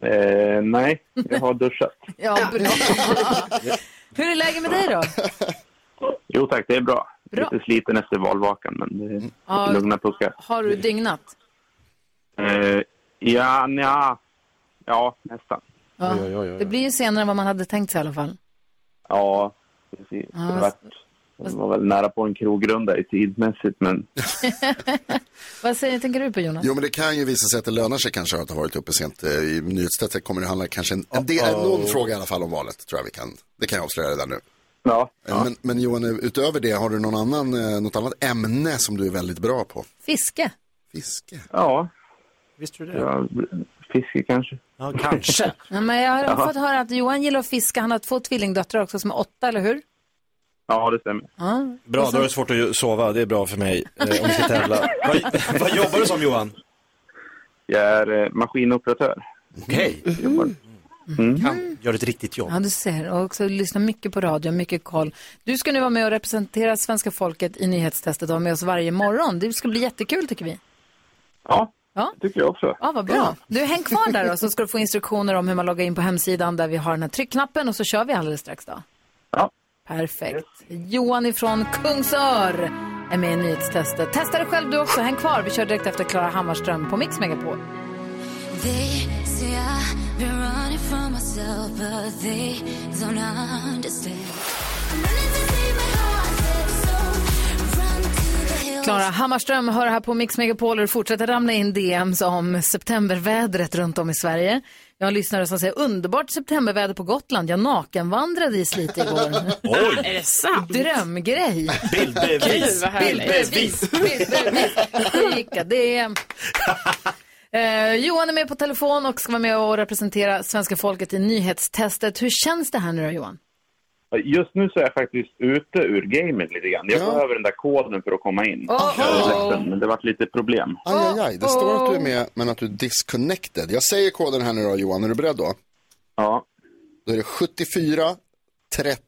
S18: Eh, nej, jag har duschat.
S1: Ja, bra. hur är läget med dig då?
S18: Jo tack, det är bra.
S1: Bra.
S18: Lite sliten efter valvakan, men det är
S1: Ja.
S18: lugna puckar.
S1: Har du dygnat?
S18: Eh, ja, nja. ja, nästan.
S1: Ja. Det blir ju senare än vad man hade tänkt sig i alla fall.
S18: Ja, precis.
S1: Ja,
S18: det har varit Det var väl nära på en krogrunda i tidmässigt, men
S1: Vad säger, tänker du på Jonas?
S3: Jo, men det kan ju visa sig att det lönar sig kanske att ha varit uppe sent. eh, I nyhetstestet kommer det handla kanske en, en del, någon fråga i alla fall om valet, tror jag vi kan. Det kan jag avslöja redan nu. Eh,
S18: Ja.
S3: Men, men Johan, utöver det, har du någon annan, eh, något annat ämne som du är väldigt bra på?
S1: Fiske?
S3: Fiske?
S18: ja.
S6: Visste du det?
S18: Ja, fiske kanske.
S6: Ja, kanske.
S1: Ja, men jag har
S18: Jaha.
S1: fått höra att Johan gillar att fiska. Han har två tvillingdöttrar också som är åtta, eller hur?
S18: ja, det stämmer.
S1: Ja.
S6: Bra, då är det svårt att sova. Det är bra för mig eh, om vi ska tävla. vad, vad jobbar du som Johan?
S18: Jag är eh, maskinoperatör. Mm.
S6: Okej.
S1: Mm.
S6: Kan- Gör ett riktigt jobb.
S1: Ja, du ser. Och också lyssnar mycket på radio, mycket koll. Du ska nu vara med och representera svenska folket i nyhetstestet och vara med oss varje morgon. Det ska bli jättekul tycker vi.
S18: Ja,
S1: Ja.
S18: det tycker jag också.
S1: Ja, vad bra. Du, häng kvar där då, så ska du få instruktioner om hur man loggar in på hemsidan där vi har den här tryckknappen och så kör vi alldeles strax då.
S18: Ja.
S1: Perfekt. Johan ifrån Kungsör är med i nyhetstestet. Testa det själv du också, häng kvar. Vi kör direkt efter Klara Hammarström på Mix Megapol.
S5: They say I've been running from myself, but they don't understand.
S1: Klara Hammarström hör här på Mix Megapol och det fortsätter ramla in DMs om septembervädret runt om i Sverige. Jag har lyssnare som säger underbart septemberväder på Gotland. Jag nakenvandrade i Slite igår.
S7: Oj. Är det sant?
S1: Drömgrej.
S7: Gud, vad härligt.
S1: Bildbevis. Bildbevis. Skicka DM. Eh, Johan är med på telefon och ska vara med och representera svenska folket i nyhetstestet. Hur känns det här nu då Johan?
S18: Just nu så är jag faktiskt ute ur gamet lite grann. Jag behöver den där koden för att komma in.
S1: Oh.
S18: Jag har släppt den, Men det vart lite problem.
S3: Aj, aj, aj. Det står att du är med, men att du är disconnected. Jag säger koden här nu då, Johan. Är du beredd då?
S18: Ja.
S3: Då är det 74 30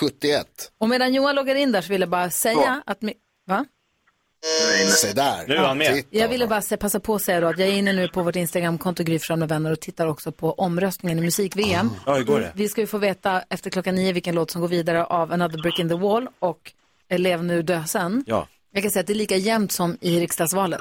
S3: 71.
S1: Och medan Johan loggar in där så vill jag bara säga att... Mi- Va?
S3: Se där.
S6: Nu är han med.
S1: Jag ville bara se- passa på att säga då att jag är inne nu på vårt Instagramkonto Gry Forssell med vänner och tittar också på omröstningen i musik-VM.
S6: Ja, hur går det?
S1: Vi ska ju få veta efter klockan nio vilken låt som går vidare av Another Brick in the Wall och Lev nu, dö sen.
S6: Ja.
S1: Jag kan säga att det är lika jämnt som i riksdagsvalet.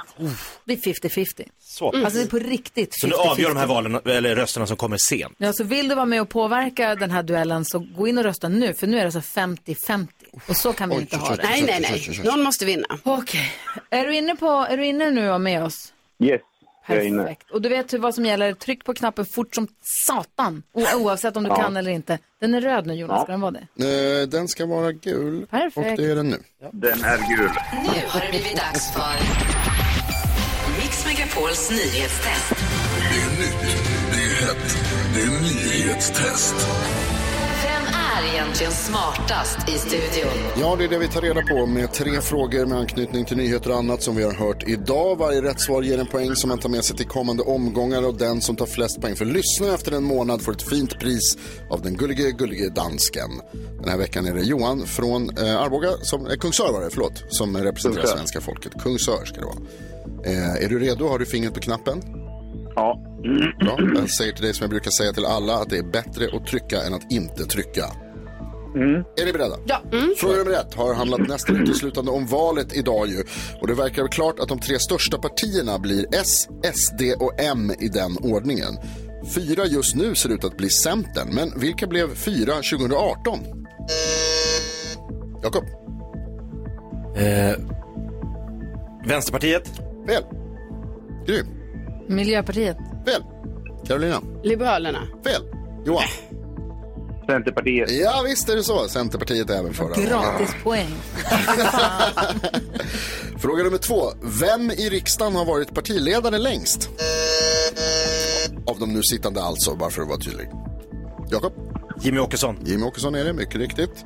S1: Det är 50-50.
S6: Så pass.
S1: Alltså det är på riktigt 50-50.
S6: Så nu avgör de här valen, eller rösterna som kommer sen.
S1: Ja, så vill du vara med och påverka den här duellen så gå in och rösta nu för nu är det alltså 50-50 och så kan vi
S7: Oj,
S1: inte
S7: oj,
S1: ha
S7: oj,
S1: det.
S7: Nej, nej, nej. Någon måste vinna.
S1: Okej. Är du inne, på, är du inne nu och med oss?
S18: Yes, jag är inne.
S1: Perfekt. Och du vet hur vad som gäller. Tryck på knappen fort som satan. O oavsett om du
S3: Ja.
S1: kan eller inte. Den är röd nu Jonas, ska den vara det?
S3: Eh, den ska vara gul.
S1: Perfekt.
S3: Och det är den nu.
S18: Den är gul.
S2: Nu har det blivit dags för Mix Megapols nyhetstest.
S17: Det är nyhetstest.
S2: Vem är egentligen smartast i studion?
S3: Ja, det är det vi tar reda på med tre frågor med anknytning till nyheter och annat som vi har hört idag. Varje rätt svar ger en poäng som man tar med sig till kommande omgångar och den som tar flest poäng för lyssnare efter en månad får ett fint pris av den gullige, gullige dansken. Den här veckan är det Johan från eh, Arboga, som, eh, Kungsör var det, förlåt, som representerar
S18: Kungsör.
S3: svenska folket. Kungsör ska det vara. Eh, är du redo? Har du fingret på knappen?
S18: Ja.
S3: Bra. Jag säger till dig som jag brukar säga till alla att det är bättre att trycka än att inte trycka. Är ni beredda? Ja. Fråga nummer ett har handlat nästan uteslutande om valet idag ju. Och det verkar väl klart att de tre största partierna blir S, SD och M i den ordningen. Fyra just nu ser ut att bli Centern, men vilka blev fyra 2018? Jakob?
S6: Eh, Vänsterpartiet?
S3: Fel. Gry?
S1: Miljöpartiet.
S3: Fel. Carolina?
S7: Liberalerna.
S3: Fel. Johan?
S18: Centerpartiet.
S3: Ja, visst är det så. Centerpartiet är även förra
S1: Gratis poäng.
S3: Fråga nummer två. Vem i riksdagen har varit partiledare längst? Av de nu sittande alltså, bara för att vara tydlig. Jakob?
S6: Jimmy Åkesson.
S3: Jimmy Åkesson är det, mycket riktigt.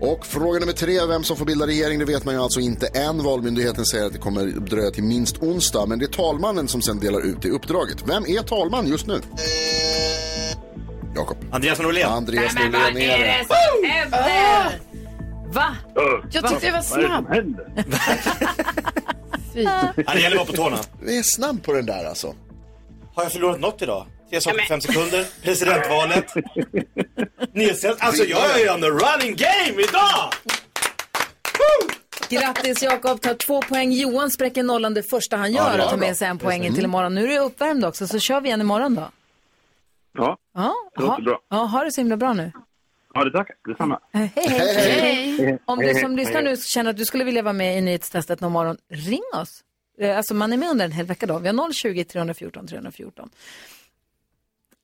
S3: Och fråga nummer tre, vem som får bilda regering, det vet man ju alltså inte än. Valmyndigheten säger att det kommer dröja till minst onsdag, men det är talmannen som sen delar ut det uppdraget. Vem är talman just nu? Jakob.
S6: Andreas Norlén.
S3: Andreas Norlén är det.
S1: som händer? Va?
S7: Ah! Jag tyckte jag var snabb.
S1: Fy.
S6: Ja, det gäller att vara på tårna.
S3: Vi är snabb på den där alltså.
S6: Har jag förlorat något idag? Tre saker på fem sekunder. Presidentvalet. Nyhetstjänst. Alltså jag är ju on the running game idag!
S1: Grattis Jakob, tar två poäng. Johan spräcker nollan det första han
S6: Ja,
S1: gör
S6: det
S1: och tar
S6: var bra.
S1: med sig en
S6: Just
S1: poäng
S6: det.
S1: in till
S6: Mm.
S1: imorgon. Nu är du uppvärmd också, så kör vi igen imorgon då.
S18: Ja,
S1: Ja,
S18: det låter
S1: ha,
S18: bra.
S1: ja, ha det så himla bra nu. Eh,
S18: Ja, det tackar. Detsamma.
S1: Hej,
S18: Hej,
S1: hej.
S18: hej.
S1: hej. Om du
S18: Hej,
S1: som
S18: hej.
S1: lyssnar nu känner att du skulle vilja vara med i nyhetstestet någon morgon, ring oss. Eh, Alltså man är med under en hel vecka då. Vi har 020 314 314.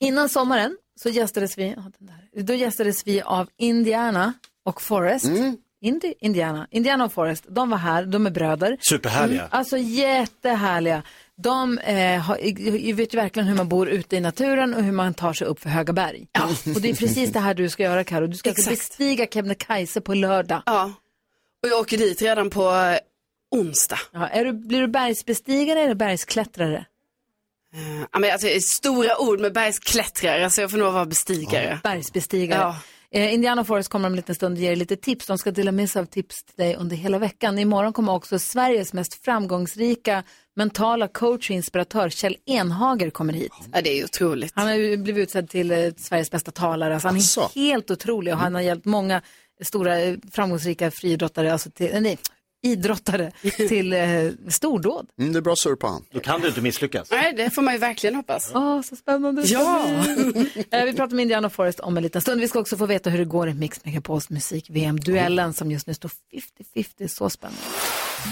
S1: Innan sommaren så gästades vi, ja, den där. då gästades vi av Indiana och Forrest.
S18: Mm.
S1: Indi, Indiana. Indiana och Forrest, de var här, de är bröder.
S6: Superhärliga.
S1: Alltså jättehärliga. De eh, har, i- i- vet ju verkligen hur man bor ute i naturen och hur man tar sig upp för höga berg. Och det är precis det här du ska göra Karo. Du ska alltså bestiga Kebnekaise på lördag.
S7: Ja, och jag åker dit redan på eh, onsdag.
S1: Ja, är du, blir du bergsbestigare eller bergsklättrare?
S7: Ja, men alltså, stora ord med bergsklättrare, så jag får nog vara bestigare.
S1: Bergsbestigare.
S7: Ja.
S1: Eh, Indiana Forest kommer om en liten stund och ger dig lite tips. De ska dela med sig av tips till dig under hela veckan. Imorgon kommer också Sveriges mest framgångsrika mentala coach och inspiratör Kjell Enhager kommer hit.
S7: Ja, det är otroligt.
S1: Han har ju blivit utsedd till eh, Sveriges bästa talare. Alltså, han är
S7: Asså.
S1: helt otrolig och han har hjälpt många stora eh, framgångsrika friidrottare, alltså till, eh, nej, idrottare till eh, stordåd.
S3: Mm, det är bra surr på han.
S6: Då kan du inte misslyckas.
S7: Nej, det får man ju verkligen hoppas.
S1: Åh, så spännande. det ska
S7: Ja!
S1: bli. Eh, Vi pratar med Indiana Forest om en liten stund. Vi ska också få veta hur det går i Mix Megapols musik-VM-duellen som just nu står 50-50. Så spännande.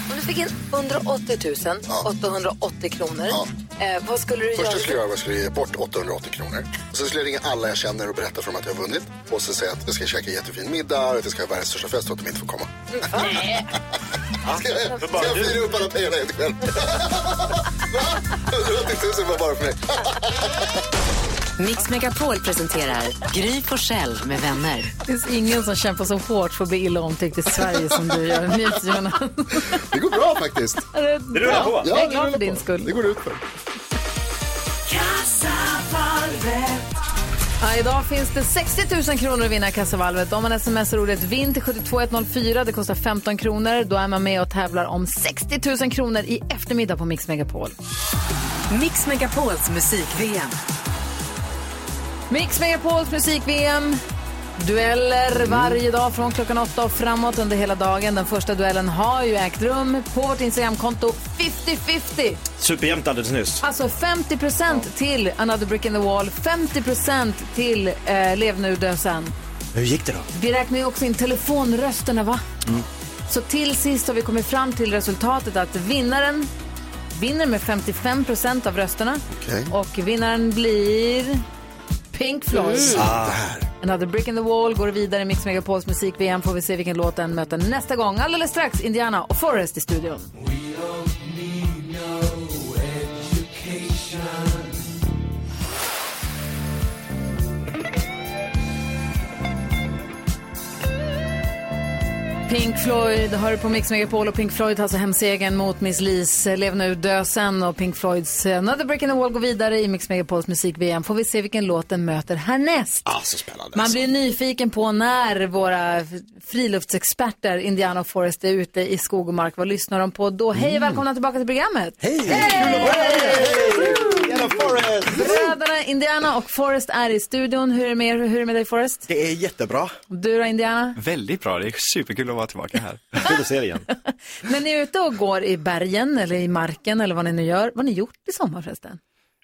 S1: Om du fick in 180 000, 880 kronor, eh, vad skulle du
S3: Först jag
S1: göra?
S3: skulle göra var jag skulle ge bort 880 kronor. Och sen skulle jag ringa alla jag känner och berätta för dem att jag har vunnit. Och sen säga att jag ska käka jättefin middag och att jag ska ha världens största fest och att de inte får komma. Ska jag, ska jag fira upp alla pengarna helt själv? Va? 180 000 var bara för mig.
S2: Mix Megapol presenterar Gry Forssell med vänner.
S1: Det finns ingen som kämpar så hårt för att bli illa omtyckt i Sverige som du gör nu, Jonas.
S3: Det går bra faktiskt.
S1: Är Det bra?
S3: rullar på. Ja,
S1: Jag är
S3: det
S1: glad
S3: rullar
S1: för din
S3: på.
S1: skull.
S3: Det går ut för.
S1: Ja, idag finns det 60 000 kronor att vinna i kassavalvet. Om man smsar ordet vinn till 72104, det kostar 15 kronor. Då är man med och tävlar om 60 000 kronor i eftermiddag på Mix Megapol.
S2: Mix Megapols musik-VM.
S1: Mix Megapols musik-VM.
S2: Mm.
S1: Dueller varje dag från klockan åtta och framåt under hela dagen. Den första duellen har ju ägt rum på vårt Instagramkonto 50-50.
S6: Superjämnt alldeles nyss.
S1: Alltså 50 till Another Brick in the Wall, 50 till eh, Lev nu dösen.
S6: Hur gick det då?
S1: Vi räknar ju också in telefonrösterna, va? Så till sist har vi kommit fram till resultatet att vinnaren vinner med 55 av rösterna.
S3: Okej.
S1: Och vinnaren blir
S2: Mm.
S1: Pink Floyd.
S5: Mm. Ah.
S1: Another Brick in the Wall går vidare i Mix Megapols musik-VM. Får vi se vilken låt den möter nästa gång. Alldeles strax Indiana och Forrest i studion.
S2: Mm.
S1: Pink Floyd hör du på Mix Megapol och Pink Floyd har alltså hemsegern mot Miss Lis. Lev nu, dö sen och Pink Floyds eh, Another Break in the Wall går vidare i Mix Megapols musik-VM. Får vi se vilken låt den möter härnäst.
S3: Ah, så spännande.
S1: Man blir nyfiken på när våra f- friluftsexperter Indiana och Forrest är ute i skog och mark. Vad lyssnar de på då?
S3: Mm.
S1: Hej och välkomna tillbaka till programmet. Hej! Bröderna Indiana och Forrest är i studion. Hur är det med, er? Hur är det med dig Forrest?
S19: Det är jättebra.
S1: Du då Indiana?
S19: Väldigt bra, det är superkul att vara tillbaka här.
S6: Kul att se dig igen.
S1: När ni är ute och går i bergen eller i marken eller vad ni nu gör, vad har ni gjort i sommar förresten?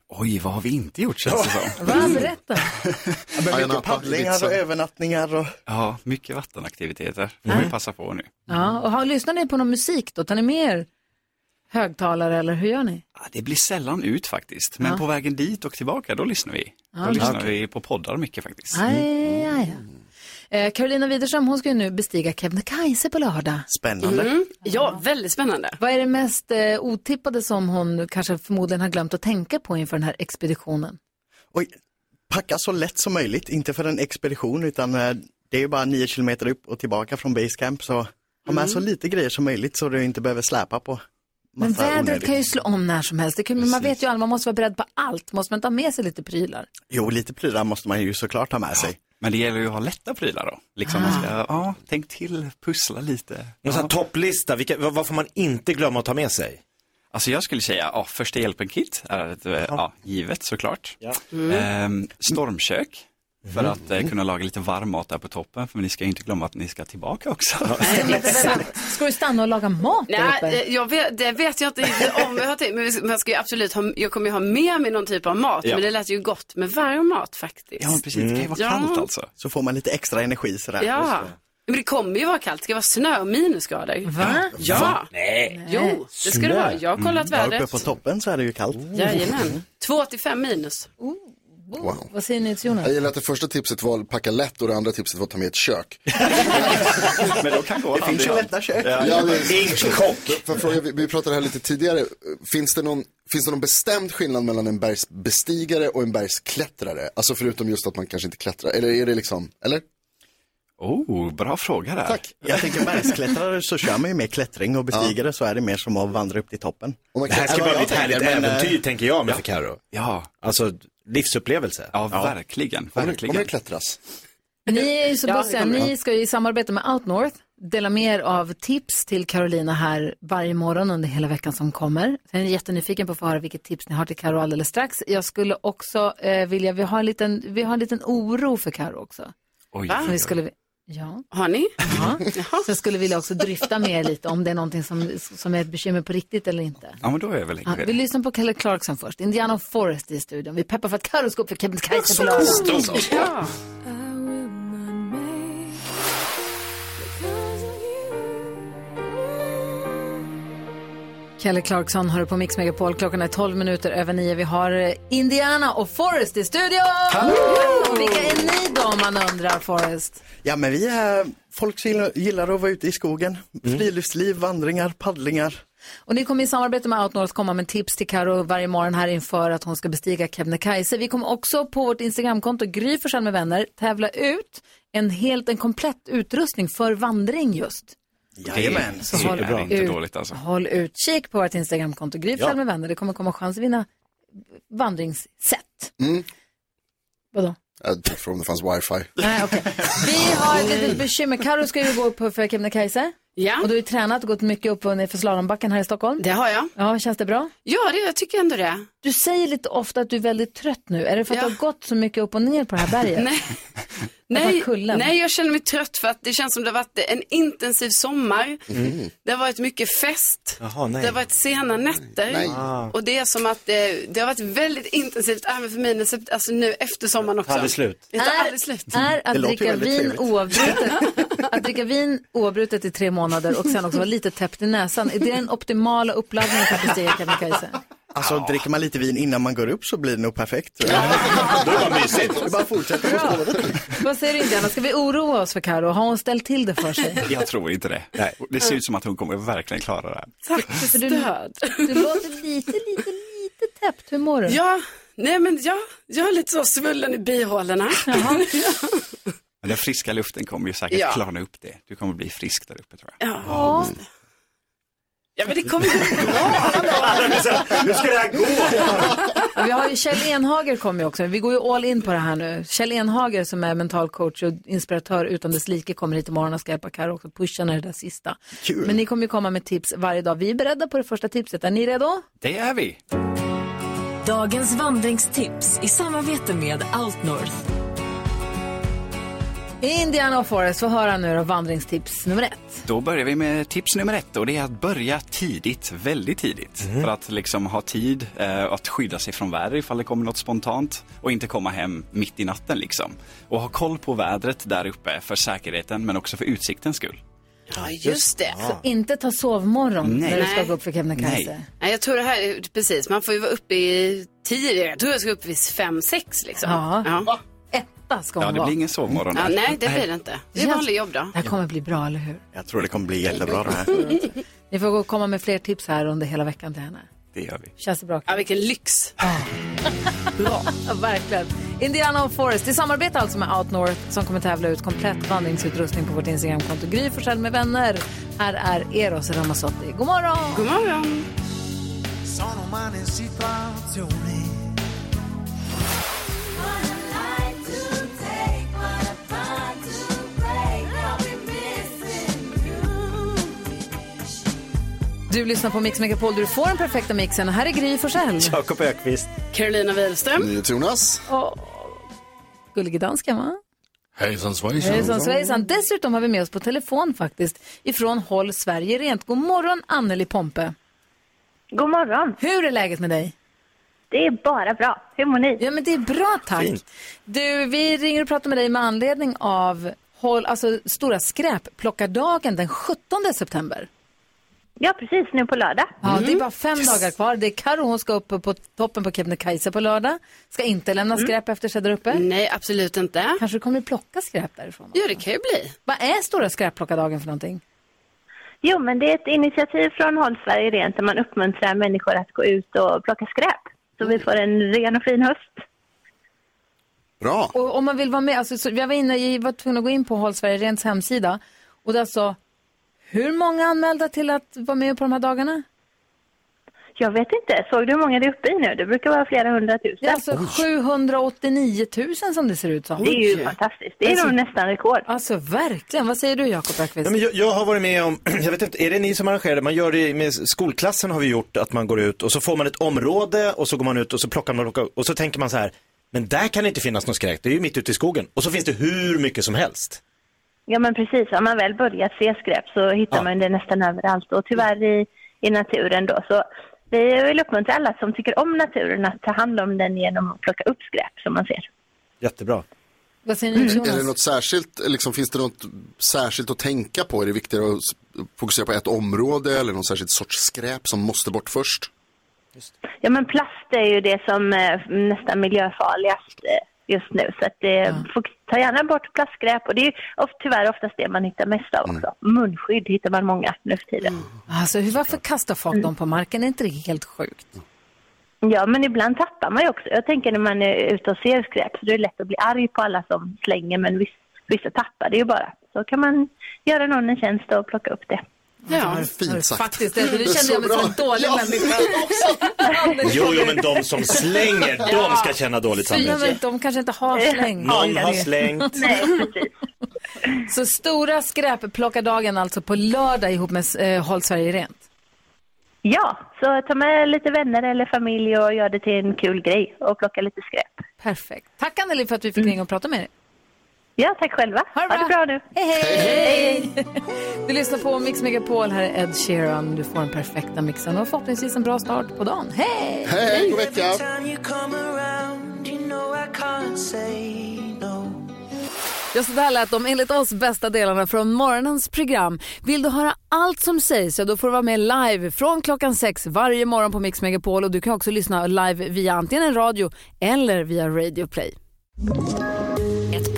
S19: Oj, vad har vi inte gjort känns det som.
S1: Va, berätta.
S19: men
S1: mycket
S20: liksom.
S1: paddlingar och
S19: övernattningar och... Ja, mycket vattenaktiviteter. Får vi passa på nu.
S1: Ja, och har, lyssnar ni på någon musik då? Tar ni med er högtalare eller hur gör ni?
S19: Ja, Det blir sällan ut faktiskt, men
S1: Ja.
S19: på vägen dit och tillbaka, då lyssnar vi. Då
S1: Ja,
S19: lyssnar
S1: okej.
S19: vi på poddar mycket faktiskt.
S1: Aj, aj, aj. Eh, Carolina Widerström, hon ska ju nu bestiga Kebnekaise på lördag.
S19: Spännande.
S1: Mm. Ja, väldigt spännande. Vad är det mest eh, otippade som hon kanske förmodligen har glömt att tänka på inför den här expeditionen?
S20: Oj, packa så lätt som möjligt, inte för en expedition utan eh, det är ju bara nio kilometer upp och tillbaka från basecamp så ha med
S1: Mm.
S20: så lite grejer som möjligt så du inte behöver släpa på
S1: Men
S20: massa
S1: vädret
S20: onödigt.
S1: kan ju slå om när som helst. Det kan, men man vet ju aldrig, man måste vara beredd på allt. Måste man ta med sig lite prylar?
S20: Jo, lite prylar måste man ju såklart ha med sig.
S19: Men det gäller ju att ha lätta prylar då. Liksom man ska, ja, tänk till, pussla lite.
S6: Någon sån här topplista, vilka, vad, vad får man inte glömma att ta med sig?
S19: Alltså jag skulle säga, ja, första hjälpen-kit är ett, eh, ja, givet såklart.
S6: Ja.
S19: Ehm, stormkök. För att eh, kunna laga lite varm mat där på toppen, för ni ska inte glömma att ni ska tillbaka också.
S1: Ska du stanna och laga mat där uppe?
S7: Nej, eh, jag vet, det vet jag inte riktigt om jag har tänkt, men vi- man ska ju absolut ha, jag kommer ju ha med mig någon typ av mat,
S20: Ja.
S7: men det lät ju gott med varm mat faktiskt. Mm. Ja.
S20: alltså. Så får man lite extra energi sådär.
S7: Ja, men det kommer ju vara kallt, det ska vara snö och minusgrader. Va? Ja,
S20: Nej.
S7: jo, det ska det vara. Jag har kollat
S20: Där
S7: vädret.
S20: Mm. uppe på toppen så är det ju kallt.
S6: Oh.
S7: Jajamän, 2 till 5 minus.
S3: Wow.
S1: Oh, Vad säger ni till Jonas?
S3: Jag gillar att det första tipset var packa lätt och det andra tipset var ta med ett kök.
S19: Men då kan gå
S3: Det finns ju lätta
S20: kök.
S3: Ja, det- För att fråga, vi, vi pratade här lite tidigare. Finns det, någon, finns det någon bestämd skillnad mellan en bergsbestigare och en bergsklättrare? Alltså förutom just att man kanske inte klättrar. Eller är det liksom, eller?
S19: Oh, bra fråga där.
S3: Tack.
S20: Jag tänker bergsklättrare så kör man ju mer klättring och bestigare så är det mer som att vandra upp till toppen.
S6: Det här ska bara bli ett härligt äventyr, tänker jag med för Karo.
S19: Ja.
S6: Alltså, livsupplevelse.
S19: Ja, verkligen.
S6: verkligen.
S3: Kommer det klättras?
S1: Ni är ju så
S3: Ja,
S1: bussiga.
S3: det kommer jag.
S1: Ni ska ju i samarbete med Outnorth dela med er av tips till Carolina här varje morgon under hela veckan som kommer. Jag är jättenyfiken på att få höra vilket tips ni har till Karo alldeles strax. Jag skulle också eh, vilja, vi har, en liten, vi har en liten oro för Karo också.
S19: Oj,
S1: Som
S7: oj, oj.
S1: vi skulle, vi- ja.
S7: Har ni?
S1: Ja. Så jag skulle vilja också drifta med er lite om det är någonting som, som är ett bekymmer på riktigt eller inte.
S19: Ja, men då är jag väl
S1: Ja, vi lyssnar på Kelly Clarkson först. Indiana Forest i studion. Vi peppar för att Carro ska upp för Kebnekaise på lördag.
S7: Ja.
S1: Kelly Clarkson hör på Mix Megapol. Klockan är 12 minuter över 9. Vi har eh, Indiana och Forrest i studion! Och Vilka är ni då om man undrar, Forrest?
S20: Ja men vi är folk som gillar- gillar att vara ute i skogen.
S7: Mm.
S20: Friluftsliv, vandringar, paddlingar.
S1: Och ni kommer i samarbete med Outnorth komma med tips till Karo varje morgon här inför att hon ska bestiga Kebnekaise. Vi kommer också på vårt Instagramkonto, Gry Forssell med vänner, tävla ut en helt, en komplett utrustning för vandring just.
S20: Jajamän.
S1: Så håll
S19: Superbra.
S1: ut.
S19: Inte dåligt alltså.
S1: Håll utkik på vårt Instagramkonto, Gry
S19: Ja.
S1: Forssell med vänner. Det kommer komma chans att vinna vandringssätt.
S3: Mm.
S1: Vadå?
S3: Jag tänkte fråga om det fanns wifi.
S1: Nej, okej. Vi har ett litet bekymmer. Karo ska ju gå upp för Kebnekaise.
S7: Ja.
S1: Och du har ju tränat och gått mycket upp och ner för slalombacken här i Stockholm.
S7: Det har jag.
S1: Ja, känns det bra?
S7: Ja, det, jag tycker ändå det.
S1: Du säger lite ofta att du är väldigt trött nu. Är det för att du har gått så mycket upp och ner på det här berget?
S7: Nej.
S1: Därför
S7: Nej,
S1: kullen.
S7: nej, jag känner mig trött för att det känns som det har varit en intensiv sommar. Det har varit mycket fest.
S6: Jaha,
S7: Det
S6: nej.
S7: har varit sena nätter.
S6: Nej. Ah.
S7: Och det är som att eh, det har varit väldigt intensivt även för mig när sept- alltså nu efter sommaren också.
S6: Aldrig slut.
S7: Det tar aldrig slut.
S1: Är att dricka vin oavbrutet, att dricka vin oavbrutet i tre månader och sen också vara lite täppt i näsan. Är det den optimala uppladdningen för att bestiga Kebnekaise?
S20: Alltså dricker man lite vin innan man går upp så blir det nog perfekt.
S6: Då är det mysigt.
S20: Det bara fortsätter på spåret.
S1: Vad säger du Indiana, ska vi oroa oss för Karo? Har hon ställt till det för sig?
S19: Jag tror inte det. Det ser ut som att hon kommer verkligen klara det här.
S7: Tack för
S1: För du-
S7: stöd.
S1: Du låter lite, lite, lite täppt. Hur mår du?
S7: Ja, nej men ja, jag är lite så svullen i bihålorna.
S19: Men den friska luften kommer ju säkert
S7: Ja.
S19: klarna upp det. Du kommer bli frisk där uppe tror jag.
S7: Ja. ja, men det kommer gå bra.
S6: Nu ska det här gå.
S1: Ja, Vi har ju Kjell Enhager kommer ju också. Vi går ju all in på det här nu. Kjell Enhager som är mental coach och inspiratör utan dess like kommer hit imorgon och ska hjälpa Karo också pusha när det där sista.
S19: Kul.
S1: Men ni kommer ju komma med tips varje dag. Vi är beredda på det första tipset. Är ni redo?
S19: Det
S10: er
S19: är vi.
S2: Dagens vandringstips i samarbete med Outnorth.
S1: Indiana och Forrest, få höra nu då vandringstips nummer ett.
S19: Då börjar vi med tips nummer ett och det är att börja tidigt, väldigt tidigt. För att liksom ha tid eh, att skydda sig från väder ifall det kommer något spontant och inte komma hem mitt i natten liksom. Och ha koll på vädret där uppe för säkerheten men också för utsiktens skull.
S7: Ja, just det.
S1: Så inte ta sovmorgon
S19: Nej.
S1: när du ska
S7: Nej.
S1: gå upp för Kebnekaise.
S7: Nej, jag tror det här är, precis, man får ju vara uppe i tidigare. Jag tror jag ska upp vid fem, sex liksom.
S1: Ja.
S7: ja.
S1: Etta ska hon
S19: Ja, det
S1: vara.
S19: blir ingen sovmorgon.
S7: Ja,
S19: där.
S7: nej, det blir det inte. Det är
S1: Yes.
S7: vanlig jobb då.
S1: Det här kommer bli bra, eller hur?
S20: Jag tror det kommer bli jättebra det här.
S1: Ni får gå och komma med fler tips här under hela veckan till henne.
S19: Det gör vi.
S1: Känns det bra?
S7: Ja, vilken lyx.
S1: Bra. ja, verkligen. Indiana och Forest i samarbete alltså med Outnorth som kommer tävla ut komplett vandringsutrustning på vårt Instagramkonto. Gry Forssell med vänner. Här är Eros Ramazzotti. God morgon!
S7: God morgon!
S14: Sono umane situazioni.
S1: Du lyssnar på Mix Megapol där du får den perfekta mixen. Och här är Gry Forssell.
S6: Jakob Ökvist.
S7: Carolina Wihlström.
S3: Jonas.
S1: Åh, Gullige dansken, va?
S21: Hejsan svejsan.
S1: Hejsan svejsan. Dessutom har vi med oss på telefon faktiskt ifrån Håll Sverige Rent. God morgon Anneli Pompe.
S22: God morgon.
S1: Hur är läget med dig?
S22: Det är bara bra. Hur mår ni?
S1: Ja men det är bra tack.
S22: Fint.
S1: Du, vi ringer och pratar med dig med anledning av håll, alltså, stora skräpplockardagen den 17 september.
S22: Ja, precis. Nu på lördag.
S1: Ja, det är bara fem dagar kvar. Det är Karo, hon ska upp på toppen på Kebnekaise på lördag. Ska inte lämna skräp efter sig där uppe.
S7: Mm. Nej, absolut inte.
S1: Kanske kommer plocka skräp därifrån.
S7: Ja, det kan ju bli.
S1: Vad är stora skräpplockardagen för någonting?
S22: Jo, men det är ett initiativ från Håll Sverige Rent där man uppmuntrar människor att gå ut och plocka skräp. Så
S1: Mm.
S22: vi får en ren och fin höst.
S3: Bra.
S1: Och om man vill vara med, alltså, så jag var, inne, jag var tvungen att gå in på Håll Sverige Rents hemsida och där sa hur många anmälda till att vara med på de här dagarna?
S22: Jag vet inte. Såg du hur många det är uppe i nu? Det brukar vara flera hundratusen.
S1: Det är alltså 789 000 som det ser ut som.
S22: Det är ju fantastiskt. Det är nog nästan rekord.
S1: Alltså verkligen. Vad säger du Jakob Öqvist?
S6: Ja, men jag, jag har varit med om, jag vet inte, är det ni som arrangerar det? Man gör det med skolklassen har vi gjort, att man går ut och så får man ett område och så går man ut och så plockar man och så tänker man så här, men där kan det inte finnas någon skräp, det är ju mitt ute i skogen. Och så finns det hur mycket som helst.
S22: Ja, men precis. Har man väl börjat se skräp så hittar man det nästan överallt och tyvärr i, i naturen då. Så vi vill uppmuntra alla som tycker om naturen att ta hand om den genom att plocka upp skräp som man ser. Mm.
S6: Jättebra.
S1: Vad säger ni
S3: Mm. Är det
S1: Jonas?
S3: något särskilt, liksom, finns det något särskilt att tänka på? Är det viktigare att s- fokusera på ett område eller någon särskild sorts skräp som måste bort först?
S22: Ja, men plast är ju det som eh, nästan miljöfarligast eh, just nu. Så att, eh, fok- ta gärna bort plastskräp och det är ju of- tyvärr oftast det man hittar mest av också. Munskydd hittar man många nu för tiden.
S1: Mm.
S22: Mm.
S1: Alltså hur, varför kastar folk dem på marken? Är inte det helt sjukt?
S22: Ja, men ibland tappar man ju också. Jag tänker när man är ute och ser skräp så det är lätt att bli arg på alla som slänger men vissa, vissa tappar det ju bara. Så kan man göra någon en tjänst och plocka upp det.
S1: Ja,
S3: fint sagt.
S1: Faktiskt, det,
S22: Det
S1: nu
S22: är
S1: kände
S22: så
S1: jag mig som en
S22: bra.
S1: dålig
S22: Ja,
S1: människa.
S6: Jo, jo, men de som slänger, de ska känna dåligt
S1: Ja, men
S6: samvete.
S1: de kanske inte har
S22: Eh,
S1: slängt.
S6: Någon har slängt.
S1: Så stora skräpplockardagen alltså på lördag ihop med eh, Håll Sverige Rent.
S22: Ja, så ta med lite vänner eller familj och gör det till en kul grej och plocka lite skräp.
S1: Perfekt. Tack Anneli för att vi fick ringa och prata med dig.
S22: Ja, tack själva. Ha det bra, nu.
S1: Hej, hej! Du lyssnar på Mix Megapol. Här är Ed Sheeran. Du får den perfekta mixen och förhoppningsvis en bra start på dagen. Hej!
S3: Hej, god
S14: Every
S3: vecka!
S14: time you come around, you know I can't say no.
S1: Ja, så där lät de enligt oss bästa delarna från morgonens program. Vill du höra allt som sägs så då får du vara med live från klockan sex varje morgon på Mix Megapol och du kan också lyssna live via antingen en radio eller via Radio Play.
S2: Ett